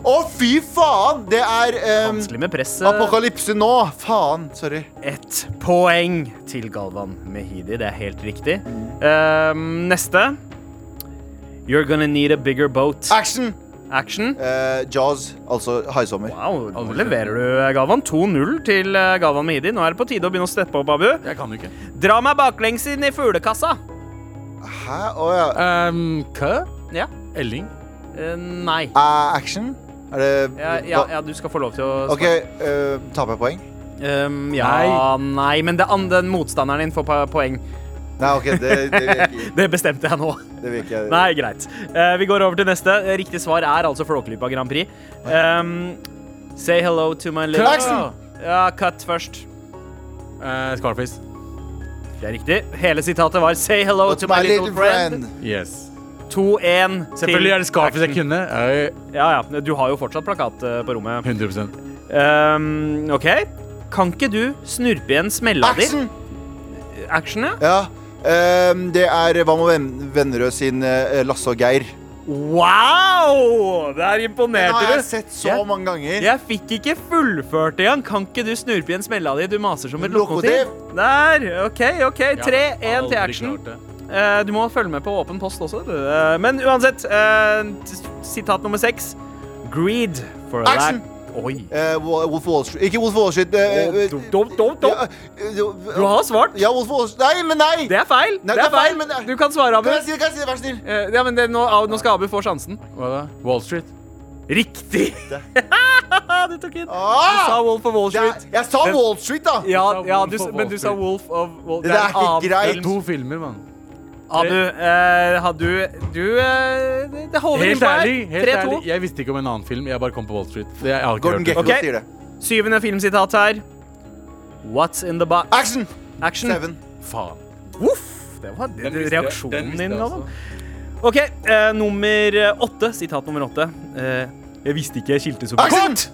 S4: Å, fy faen! Det er eh,
S2: Vanskelig med presset.
S4: Apokalypse nå! Faen. Sorry.
S2: Ett poeng til Galvan Mehidi. Det er helt riktig. Ehm, neste. You're gonna need a bigger boat.
S4: Action!
S2: Action.
S4: Eh, Jaws, altså Haisommer.
S2: Wow, nå leverer du, eh, Galvan. 2-0 til eh, Galvan Mehidi. Nå er det på tide å begynne å steppe opp, Abu.
S3: Jeg kan jo ikke.
S2: Dra meg baklengs inn i fuglekassa.
S4: Hæ? Å ja.
S3: Um, kø?
S2: Ja.
S3: Elling?
S2: Eh, nei.
S4: Eh, action? Er det
S2: Ja, ja, ja, du skal få lov til å
S4: OK, eh, taper jeg poeng?
S2: Ehm, ja, nei. men det andre motstanderen din får po- poeng.
S4: Nei, OK, det, det vil jeg ikke.
S2: Det bestemte jeg nå.
S4: Det vil jeg ikke.
S2: Nei, greit. Eh, vi går over til neste. Riktig svar er altså Flåklypa Grand Prix. Ehm, say hello to my little
S4: Action!
S2: Ja, cut først.
S3: Eh, Scarface.
S2: Det er riktig. Hele sitatet var say hello
S4: What's
S2: to my little, friend.
S3: Yes.
S2: 2-1 til
S3: Selvfølgelig er det Scarface jeg kunne. Eh,
S2: Ja, ja. Du har jo fortsatt plakat eh, på rommet.
S3: 100
S2: Ehm, OK. Kan ikke du snurpe igjen smella di?
S4: Action!
S2: Action, ja.
S4: Ja. ehm, det er Hva med Ven- Vennerød sin eh, Lasse og Geir.
S2: Wow! Der
S4: Den
S2: imponerte
S4: har
S2: du.
S4: jeg sett så
S2: Jeg-
S4: mange ganger.
S2: Jeg fikk ikke fullført engang. Kan ikke du snurpe igjen smella di? Du maser som et
S4: Lokomotiv.
S2: lokomotiv. Der. OK, OK. Tre, én til action.
S3: Å,
S2: Eh, du må følge med på åpen post også. Du. Eh, men uansett, eh, s- sitat nummer seks. Greed for a
S4: Action.
S2: lack Oi.
S4: Eh, Wo- Wolf of Wall Street Ikke Wolf of Wall Street. eh, eh,
S2: Dum, dum, dum, dum.
S4: ja, eh,
S2: Du har svart.
S4: Ja, Wolf of Wall Street. Nei, men nei!
S2: Det er feil.
S4: Nei,
S2: det er feil.
S4: men det er-
S2: Du kan svare, Abu.
S4: Kan jeg si det, kan jeg si det, vær snill?
S2: Eh, ja, men det, nå, Abu- nå skal Abu få sjansen.
S3: Hva da? Wall Street?
S2: Riktig! (laughs) du tok inn. Du
S4: Ah!
S2: sa Wolf of Wall
S4: Det
S2: Street.
S4: er, jeg sa Wall Street, da!
S2: Ja,
S3: Du sa
S2: ja
S3: Wolf
S2: du, s-
S3: of
S2: men
S3: Wall
S2: du sa
S3: Street.
S2: Wolf of Wall
S4: Det der er
S2: en annen
S4: ikke greit.
S2: film.
S3: To filmer, mann.
S2: Abu, eh, har du Du eh, det- Det holder
S3: Helt
S2: innpå her.
S3: ærlig, helt ærlig,
S2: 3-2.
S3: jeg visste ikke om en annen film. Jeg bare kom på Wall Street. Det, jeg har ikke
S4: Gordon
S3: hørt det.
S4: Gekko
S2: Ok.
S4: sier det.
S2: Syvende filmsitat her. What's in the box?
S4: Action!
S2: Action.
S4: Seven.
S3: Faen.
S2: Voff! Det var den
S3: visste jeg- den
S2: reaksjonen
S3: visste
S2: din,
S3: jeg altså.
S2: Galvan.
S3: også.
S2: OK, eh, nummer eh, åtte. Sitat nummer åtte. Eh, jeg visste ikke jeg skilte så
S4: Action!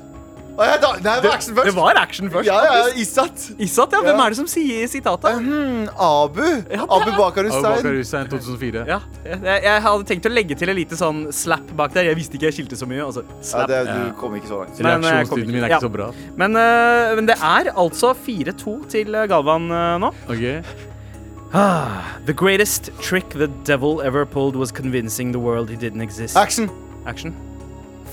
S4: Å, ja, da, nei, det var action først.
S2: Det var action først.
S4: ja, ja,
S2: faktisk.
S4: Isat.
S2: Isat, ja. Hvem
S4: Ja.
S2: er det som sier sitatet?
S4: Hmm, Abu.
S2: Ja, det
S4: Abu
S2: er-
S4: Bakar Hussein.
S3: Abubakar Hussein 2004.
S2: Ja, jeg, jeg hadde tenkt å legge til et lite sånn slap bak der. Jeg visste ikke jeg skilte så mye. Altså,
S4: Ja,
S2: slap.
S4: det, du kom ikke så langt.
S2: Men, eh, kom
S3: Reaksjonstiden min er
S2: ikke.
S3: ikke så bra.
S2: Men, eh, men det er altså 4-2 til eh, Galvan eh, nå.
S3: Ok
S2: Ah, The greatest trick the devil ever pulled was convincing the world he didn't exist.
S4: Action.
S2: Action.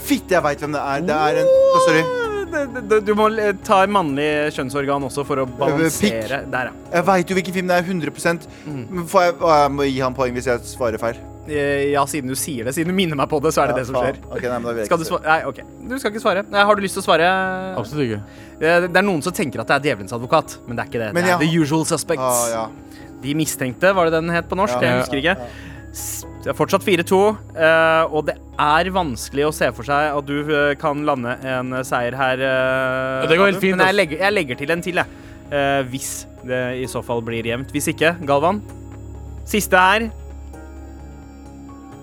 S4: Fitte, jeg veit hvem det er. Det er en Å, Sorry.
S2: Du, du, du må eh, ta mannlig kjønnsorgan også for å
S4: Eh,
S2: balansere. Der, ja.
S4: Jeg veit jo hvilken film det er. 100
S2: Mm.
S4: Men Får jeg, å, jeg må gi han poeng hvis jeg svarer feil.
S2: Eh, ja, siden du sier det, siden du minner meg på det, så er det det som skjer.
S4: Ok, nei, men da vil jeg
S2: Skal du
S4: ikke svare.
S2: svare? Nei, ok. Du skal ikke svare. Nei, har du lyst til å svare?
S3: Absolutt ikke.
S2: Eh, Det er noen som tenker at det er djevelens advokat, men det er ikke det.
S4: Men
S2: det
S4: ja.
S2: er The Usual Suspects.
S4: Å, Ah, ja.
S2: De mistenkte, var det den het på norsk?
S4: Ja.
S2: Jeg husker ikke. S- Det er fortsatt 4-2, eh, og det er vanskelig å se for seg at du eh, kan lande en eh, seier her. eh,
S3: Ja, det går helt
S2: Abu.
S3: fint,
S2: Men
S3: ass.
S2: jeg legger, jeg legger til en til, jeg. Eh, hvis det i så fall blir jevnt. Hvis ikke, Galvan. Siste er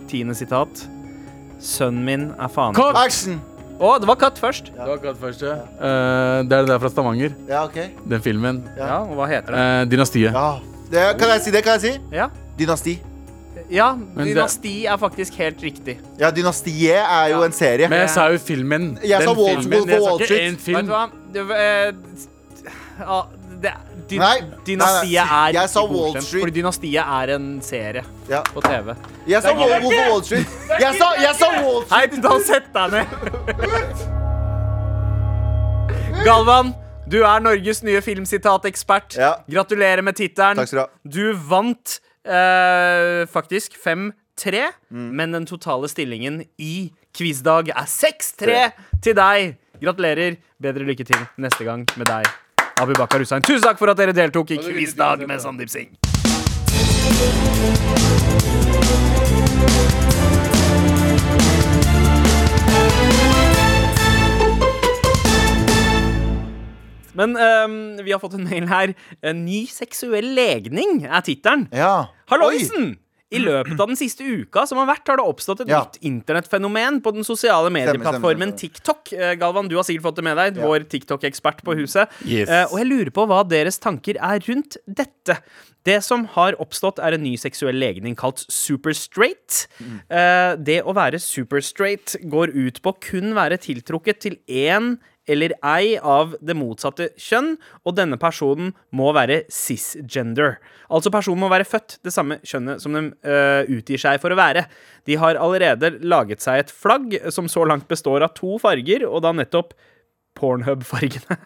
S2: Tiende sitat. Sønnen min er faen Å,
S4: Action!
S2: det var katt først.
S3: Det var akkurat første. Eh, det er det der fra Stavanger.
S4: Ja, OK.
S3: Den filmen.
S2: Ja, og hva heter det?
S3: Eh, Dynastiet.
S4: Ja. Det, kan jeg si det? Kan jeg si?
S2: Ja.
S4: Dynasti.
S2: ja,
S3: det-
S2: dynasti er faktisk helt riktig.
S4: Ja, Dynastiet er jo
S2: Ja.
S4: en serie.
S3: Men jeg sa jo filmen.
S4: Jeg sa
S3: Den
S4: Wall-
S3: filmen.
S4: Wolf of
S3: Jeg sa
S4: Wall
S3: ikke én
S4: Street.
S2: Vet
S3: film.
S2: du hva? Du, eh, s- ja, det, dy,
S4: Nei,
S2: dynastiet
S4: nei, nei.
S2: er
S4: Jeg sa
S2: ikke
S4: Wall
S2: godkjent,
S4: Street.
S2: Fordi Dynastiet er en serie
S4: Ja.
S2: på TV.
S4: Jeg sa Wall, Wolf of Wall Street. Jeg sa, jeg sa Wall Street.
S2: Hei, da sett deg ned! Galvan, du er Norges nye filmsitat-ekspert.
S4: Ja.
S2: Gratulerer med tittelen.
S4: Takk skal du ha.
S2: Du vant eh, faktisk 5-2 tre,
S4: Mm.
S2: men den totale stillingen i quizdag er 6-3 til deg. Gratulerer. Bedre lykke til neste gang med deg, Abubakar Hussein. Tusen takk for at dere deltok i quizdag med Sandeep Singh. Men ehm, vi har fått en mail her. En ny seksuell legning er tittelen.
S4: Ja.
S2: Halloisen! I løpet av den siste uka som har vært, har det oppstått et
S4: Ja.
S2: nytt internettfenomen på den sosiale medieplattformen
S4: stemmer,
S2: TikTok. Eh, Galvan, du har sikkert fått det med deg, vår TikTok-ekspert på huset.
S3: Yes.
S2: Eh, og jeg lurer på hva deres tanker er rundt dette. Det som har oppstått, er en ny seksuell legning kalt superstraight. Eh, det å være superstraight går ut på å kun være tiltrukket til én eller ei av det motsatte kjønn, og denne personen må være cisgender. Altså personen må være født det samme kjønnet som de eh, utgir seg for å være. De har allerede laget seg et flagg som så langt består av to farger, og da nettopp Pornhub-fargene.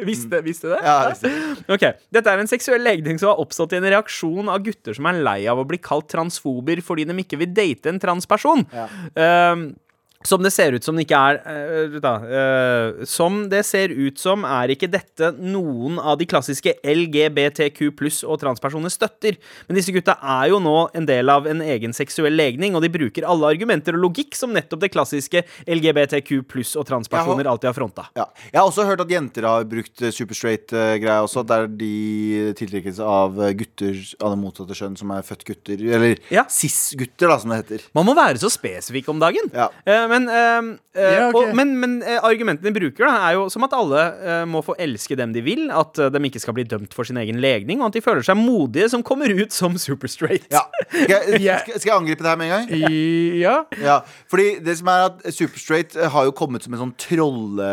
S2: Visste, visste du det?
S4: Ja, jeg visste
S2: Ok, Dette er en seksuell legning som har oppstått i en reaksjon av gutter som er lei av å bli kalt transfober fordi de ikke vil date en transperson. Ehm, som det ser ut som det ikke er eh, da, eh, Som det ser ut som, er ikke dette noen av de klassiske LGBTQ pluss og transpersoner støtter. Men disse gutta er jo nå en del av en egen seksuell legning, og de bruker alle argumenter og logikk som nettopp det klassiske LGBTQ pluss og transpersoner alltid har fronta.
S4: Ja. Jeg har også hørt at jenter har brukt eh, superstraight-greia også. Der de tiltrekkes av eh, gutter av det motsatte kjønn som er født gutter. Eller
S2: Ja.
S4: cis-gutter, da, som det heter.
S2: Man må være så spesifikk om dagen.
S4: Ja.
S2: Eh, men eh, eh,
S3: Ja, ok.
S2: og, men, men eh, argumentene de bruker, da, er jo som at alle eh, må få elske dem de vil, at eh, de ikke skal bli dømt for sin egen legning, og at de føler seg modige som kommer ut (laughs) som superstraight.
S4: Ja. Skal,
S2: (laughs)
S4: jeg,
S3: Ja.
S4: skal skal jeg angripe det her med en gang?
S3: I, ja.
S4: Ja. Fordi det som er at Superstraight eh, har jo kommet som en sånn trolle,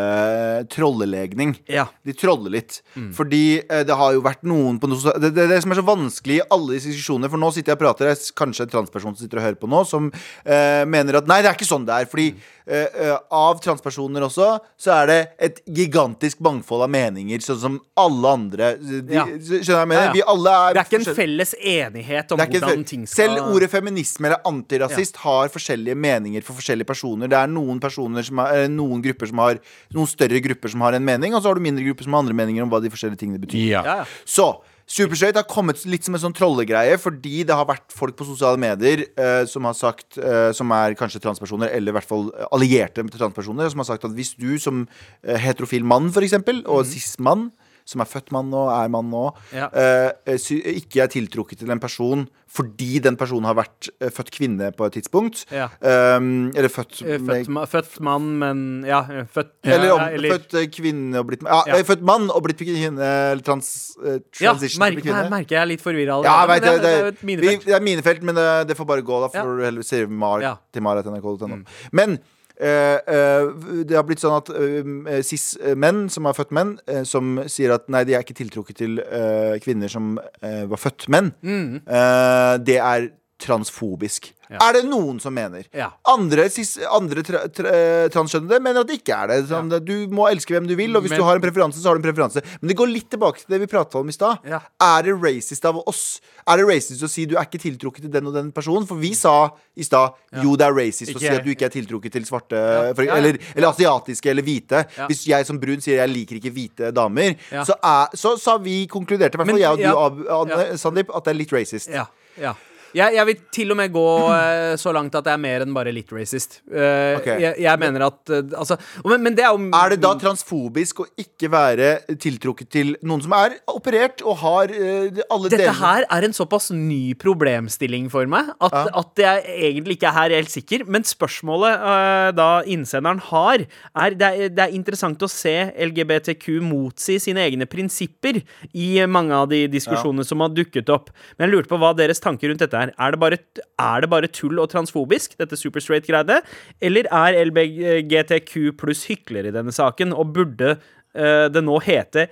S4: trollelegning.
S2: Ja.
S4: De troller litt.
S2: Mm.
S4: Fordi eh, det har jo vært noen på noe, så- det, det, det som er så vanskelig i alle disse diskusjonene, for nå sitter jeg og prater, det er s- kanskje en transperson som sitter og hører på nå, som eh, mener at nei, det er ikke sånn det er. Fordi
S2: Mm.
S4: eh, eh, av transpersoner også, så er det et gigantisk mangfold av meninger, sånn som alle andre. De,
S2: Ja.
S4: Skjønner du hva jeg mener?
S2: Ja, ja.
S4: Vi alle er
S2: Det er ikke en
S4: forskjell-
S2: felles enighet om
S4: det er ikke
S2: hvordan
S4: en
S2: ting
S4: før-
S2: skal
S4: Selv ordet feminisme eller antirasist har forskjellige meninger for forskjellige personer. Det er noen, personer som har, eh, noen grupper som har Noen større grupper som har en mening, og så har du mindre grupper som har andre meninger om hva de forskjellige tingene betyr.
S3: ja.
S2: ja, ja.
S4: Så Superskøyt har kommet litt som en sånn trollegreie, fordi det har vært folk på sosiale medier eh, som har sagt, eh, som er kanskje transpersoner, eller i hvert fall allierte med transpersoner, som har sagt at hvis du som eh, heterofil mann, for eksempel, og cis-mann, som er født mann og er mann nå,
S2: Mhm. Ja.
S4: eh, sy- ikke er tiltrukket til en person fordi den personen har vært eh, født kvinne på et tidspunkt,
S2: Ja.
S4: eh, eller født,
S2: Eh,
S4: med-
S2: Født, ma født mann, men Ja, eh, født
S4: eller, om,
S2: ja,
S4: født eh, kvinne og blitt ja,
S2: Ja.
S4: eh, Født mann og blitt kvinne, eller trans, eh,
S2: ja,
S4: transition til å
S2: merker,
S4: bli kvinne.
S2: her merker jeg er litt forvirra
S4: Ja, jeg
S2: allerede,
S4: vet, det,
S2: men
S4: det,
S2: er jo et
S4: det, vi,
S2: minefelt.
S4: det er minefelt, men det, det får bare gå. Da
S2: Ja.
S4: får du heller si mar
S2: Ja. Mm.
S4: til mara.nrk.no. Men eh, eh, det har blitt sånn at eh, cis-menn som er født menn, eh, som sier at nei, de er ikke tiltrukket til eh, kvinner som eh, var født menn,
S2: Mm.
S4: eh, det er transfobisk. Er det noen som mener?
S2: Ja.
S4: Andre, cis, andre tra, tra, transkjønnede mener at det ikke er det. Sånn, Du må elske hvem du vil, og hvis
S3: Men-
S4: du har en preferanse, så har du en preferanse. Men det går litt tilbake til det vi pratet om i stad.
S2: Ja.
S4: Er det racist av oss? Er det racist å si du er ikke tiltrukket til den og den personen? For vi sa i stad jo, det er racist å
S2: Ikke-
S4: si at du ikke er tiltrukket til svarte for,
S2: Ja, ja.
S4: Eller, eller asiatiske eller hvite.
S2: Ja.
S4: Hvis jeg som brun sier jeg liker ikke hvite damer,
S2: Ja.
S4: så, er, så sa vi konkluderte, i hvert fall
S2: Men-
S4: jeg og du,
S2: ja.
S4: Ab Adne- Sandeep, at det er litt racist.
S2: Ja, ja. Jeg, jeg vil til og med gå eh, så langt at det er mer enn bare litt racist. Eh,
S4: Ok.
S2: jeg, jeg mener at eh, Altså og men, men det er jo
S4: Er det da transfobisk å ikke være tiltrukket til noen som er operert og har eh, alle
S2: Dette
S4: delene?
S2: her er en såpass ny problemstilling for meg at, at jeg egentlig ikke er helt sikker. Men spørsmålet eh, da innsenderen har, er det, er det er interessant å se LGBTQ motsi sine egne prinsipper i mange av de diskusjonene som har dukket opp. Men jeg lurte på hva deres tanker rundt dette er. Er det bare, er det bare tull og transfobisk, dette superstraight-greiene? Eller er LGBTQ pluss hykler i denne saken, og burde eh, det nå hete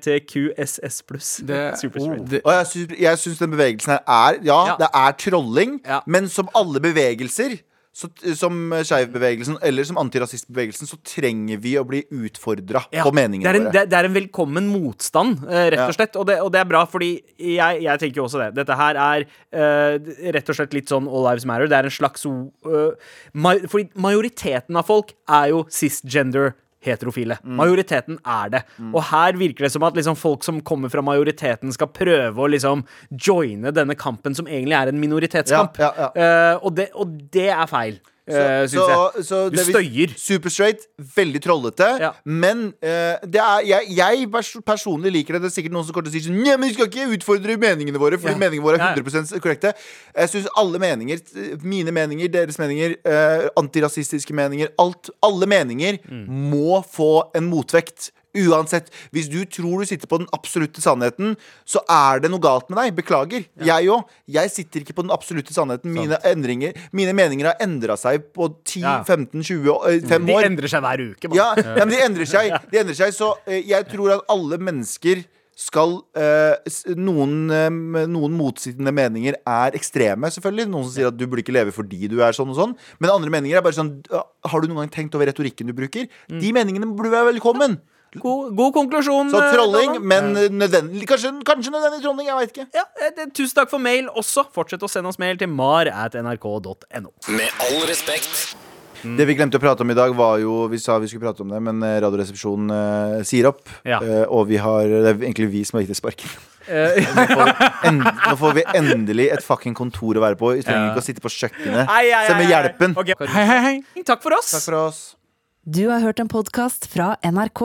S2: LGBTQSS pluss?
S3: Det- oh,
S2: Superstraight.
S3: det-
S4: Og jeg syns, jeg syns den bevegelsen her er Ja,
S2: Ja.
S4: det er trolling,
S2: Ja.
S4: men som alle bevegelser så, t- som skeivbevegelsen eller som antirasistbevegelsen, så trenger vi å bli utfordra
S2: Ja,
S4: på meningene
S2: det er en,
S4: våre.
S2: det, det er en velkommen motstand, eh, rett
S4: Ja.
S2: og slett. Og det, og det er bra, fordi jeg, jeg tenker jo også det. Dette her er eh, d- rett og slett litt sånn All Lives Matter. Det er en slags eh, ma Fordi majoriteten av folk er jo cisgender. Heterofile.
S4: Mm.
S2: Majoriteten er det. Og her virker det som at liksom folk som kommer fra majoriteten, skal prøve å liksom joine denne kampen, som egentlig er en minoritetskamp.
S4: Ja, ja,
S2: Eh, og, det, og det er feil, uh, syns jeg.
S4: så
S2: Du
S4: det vi-
S2: støyer.
S4: Superstraight, veldig trollete.
S2: Ja.
S4: Men eh, det er, jeg, jeg pers personlig liker det. Det er sikkert noen som kommer til å si sånn Nei, men vi skal ikke utfordre meningene våre,
S2: Ja.
S4: fordi meningene våre
S2: Ja, ja.
S4: er 100 korrekte. Jeg syns alle meninger, mine meninger, deres meninger, eh, antirasistiske meninger, alt, alle meninger
S2: Mm.
S4: må få en motvekt. Uansett, Hvis du tror du sitter på den absolutte sannheten, så er det noe galt med deg. Beklager. Jeg òg. Jeg sitter ikke på den absolutte sannheten. Mine, endringer, mine meninger har endra seg på 10,
S2: Ja.
S4: 15, 20 år, eh, fem
S2: De
S4: år.
S2: endrer seg hver uke. man.
S4: Ja, ja, men de endrer seg. De endrer seg så eh, jeg tror at alle mennesker skal eh, s- noen, eh, noen motsittende meninger er ekstreme, selvfølgelig. Noen som sier at du burde ikke leve fordi du er sånn og sånn. Men andre meninger er bare sånn ah, Har du noen gang tenkt over retorikken du bruker? De meningene burde være velkommen.
S2: God, god konklusjon.
S4: Så
S2: eh,
S4: trolling,
S2: Donald.
S4: men nødvendig, kanskje, kanskje nødvendig trolling. Jeg veit ikke.
S2: Ja, eh, det- tusen takk for mail også. Fortsett å sende oss mail til mar at nrk.no.
S5: Med all respekt.
S4: Mm. Det vi glemte å prate om i dag, var jo Vi sa vi skulle prate om det, men eh, Radioresepsjonen eh, sier opp.
S2: Ja.
S4: Eh, og vi har Det er egentlig vi som har gitt det (laughs) sparken. nå, får vi en, nå får vi endelig et fucking kontor å være på. Vi trenger ikke å sitte på kjøkkenet.
S2: Ei, ei, ei,
S4: Se med
S2: ei.
S4: hjelpen.
S2: Ok.
S3: Hei, hei, hei.
S2: Takk for oss.
S4: Takk for oss.
S8: Du har hørt en podkast fra NRK.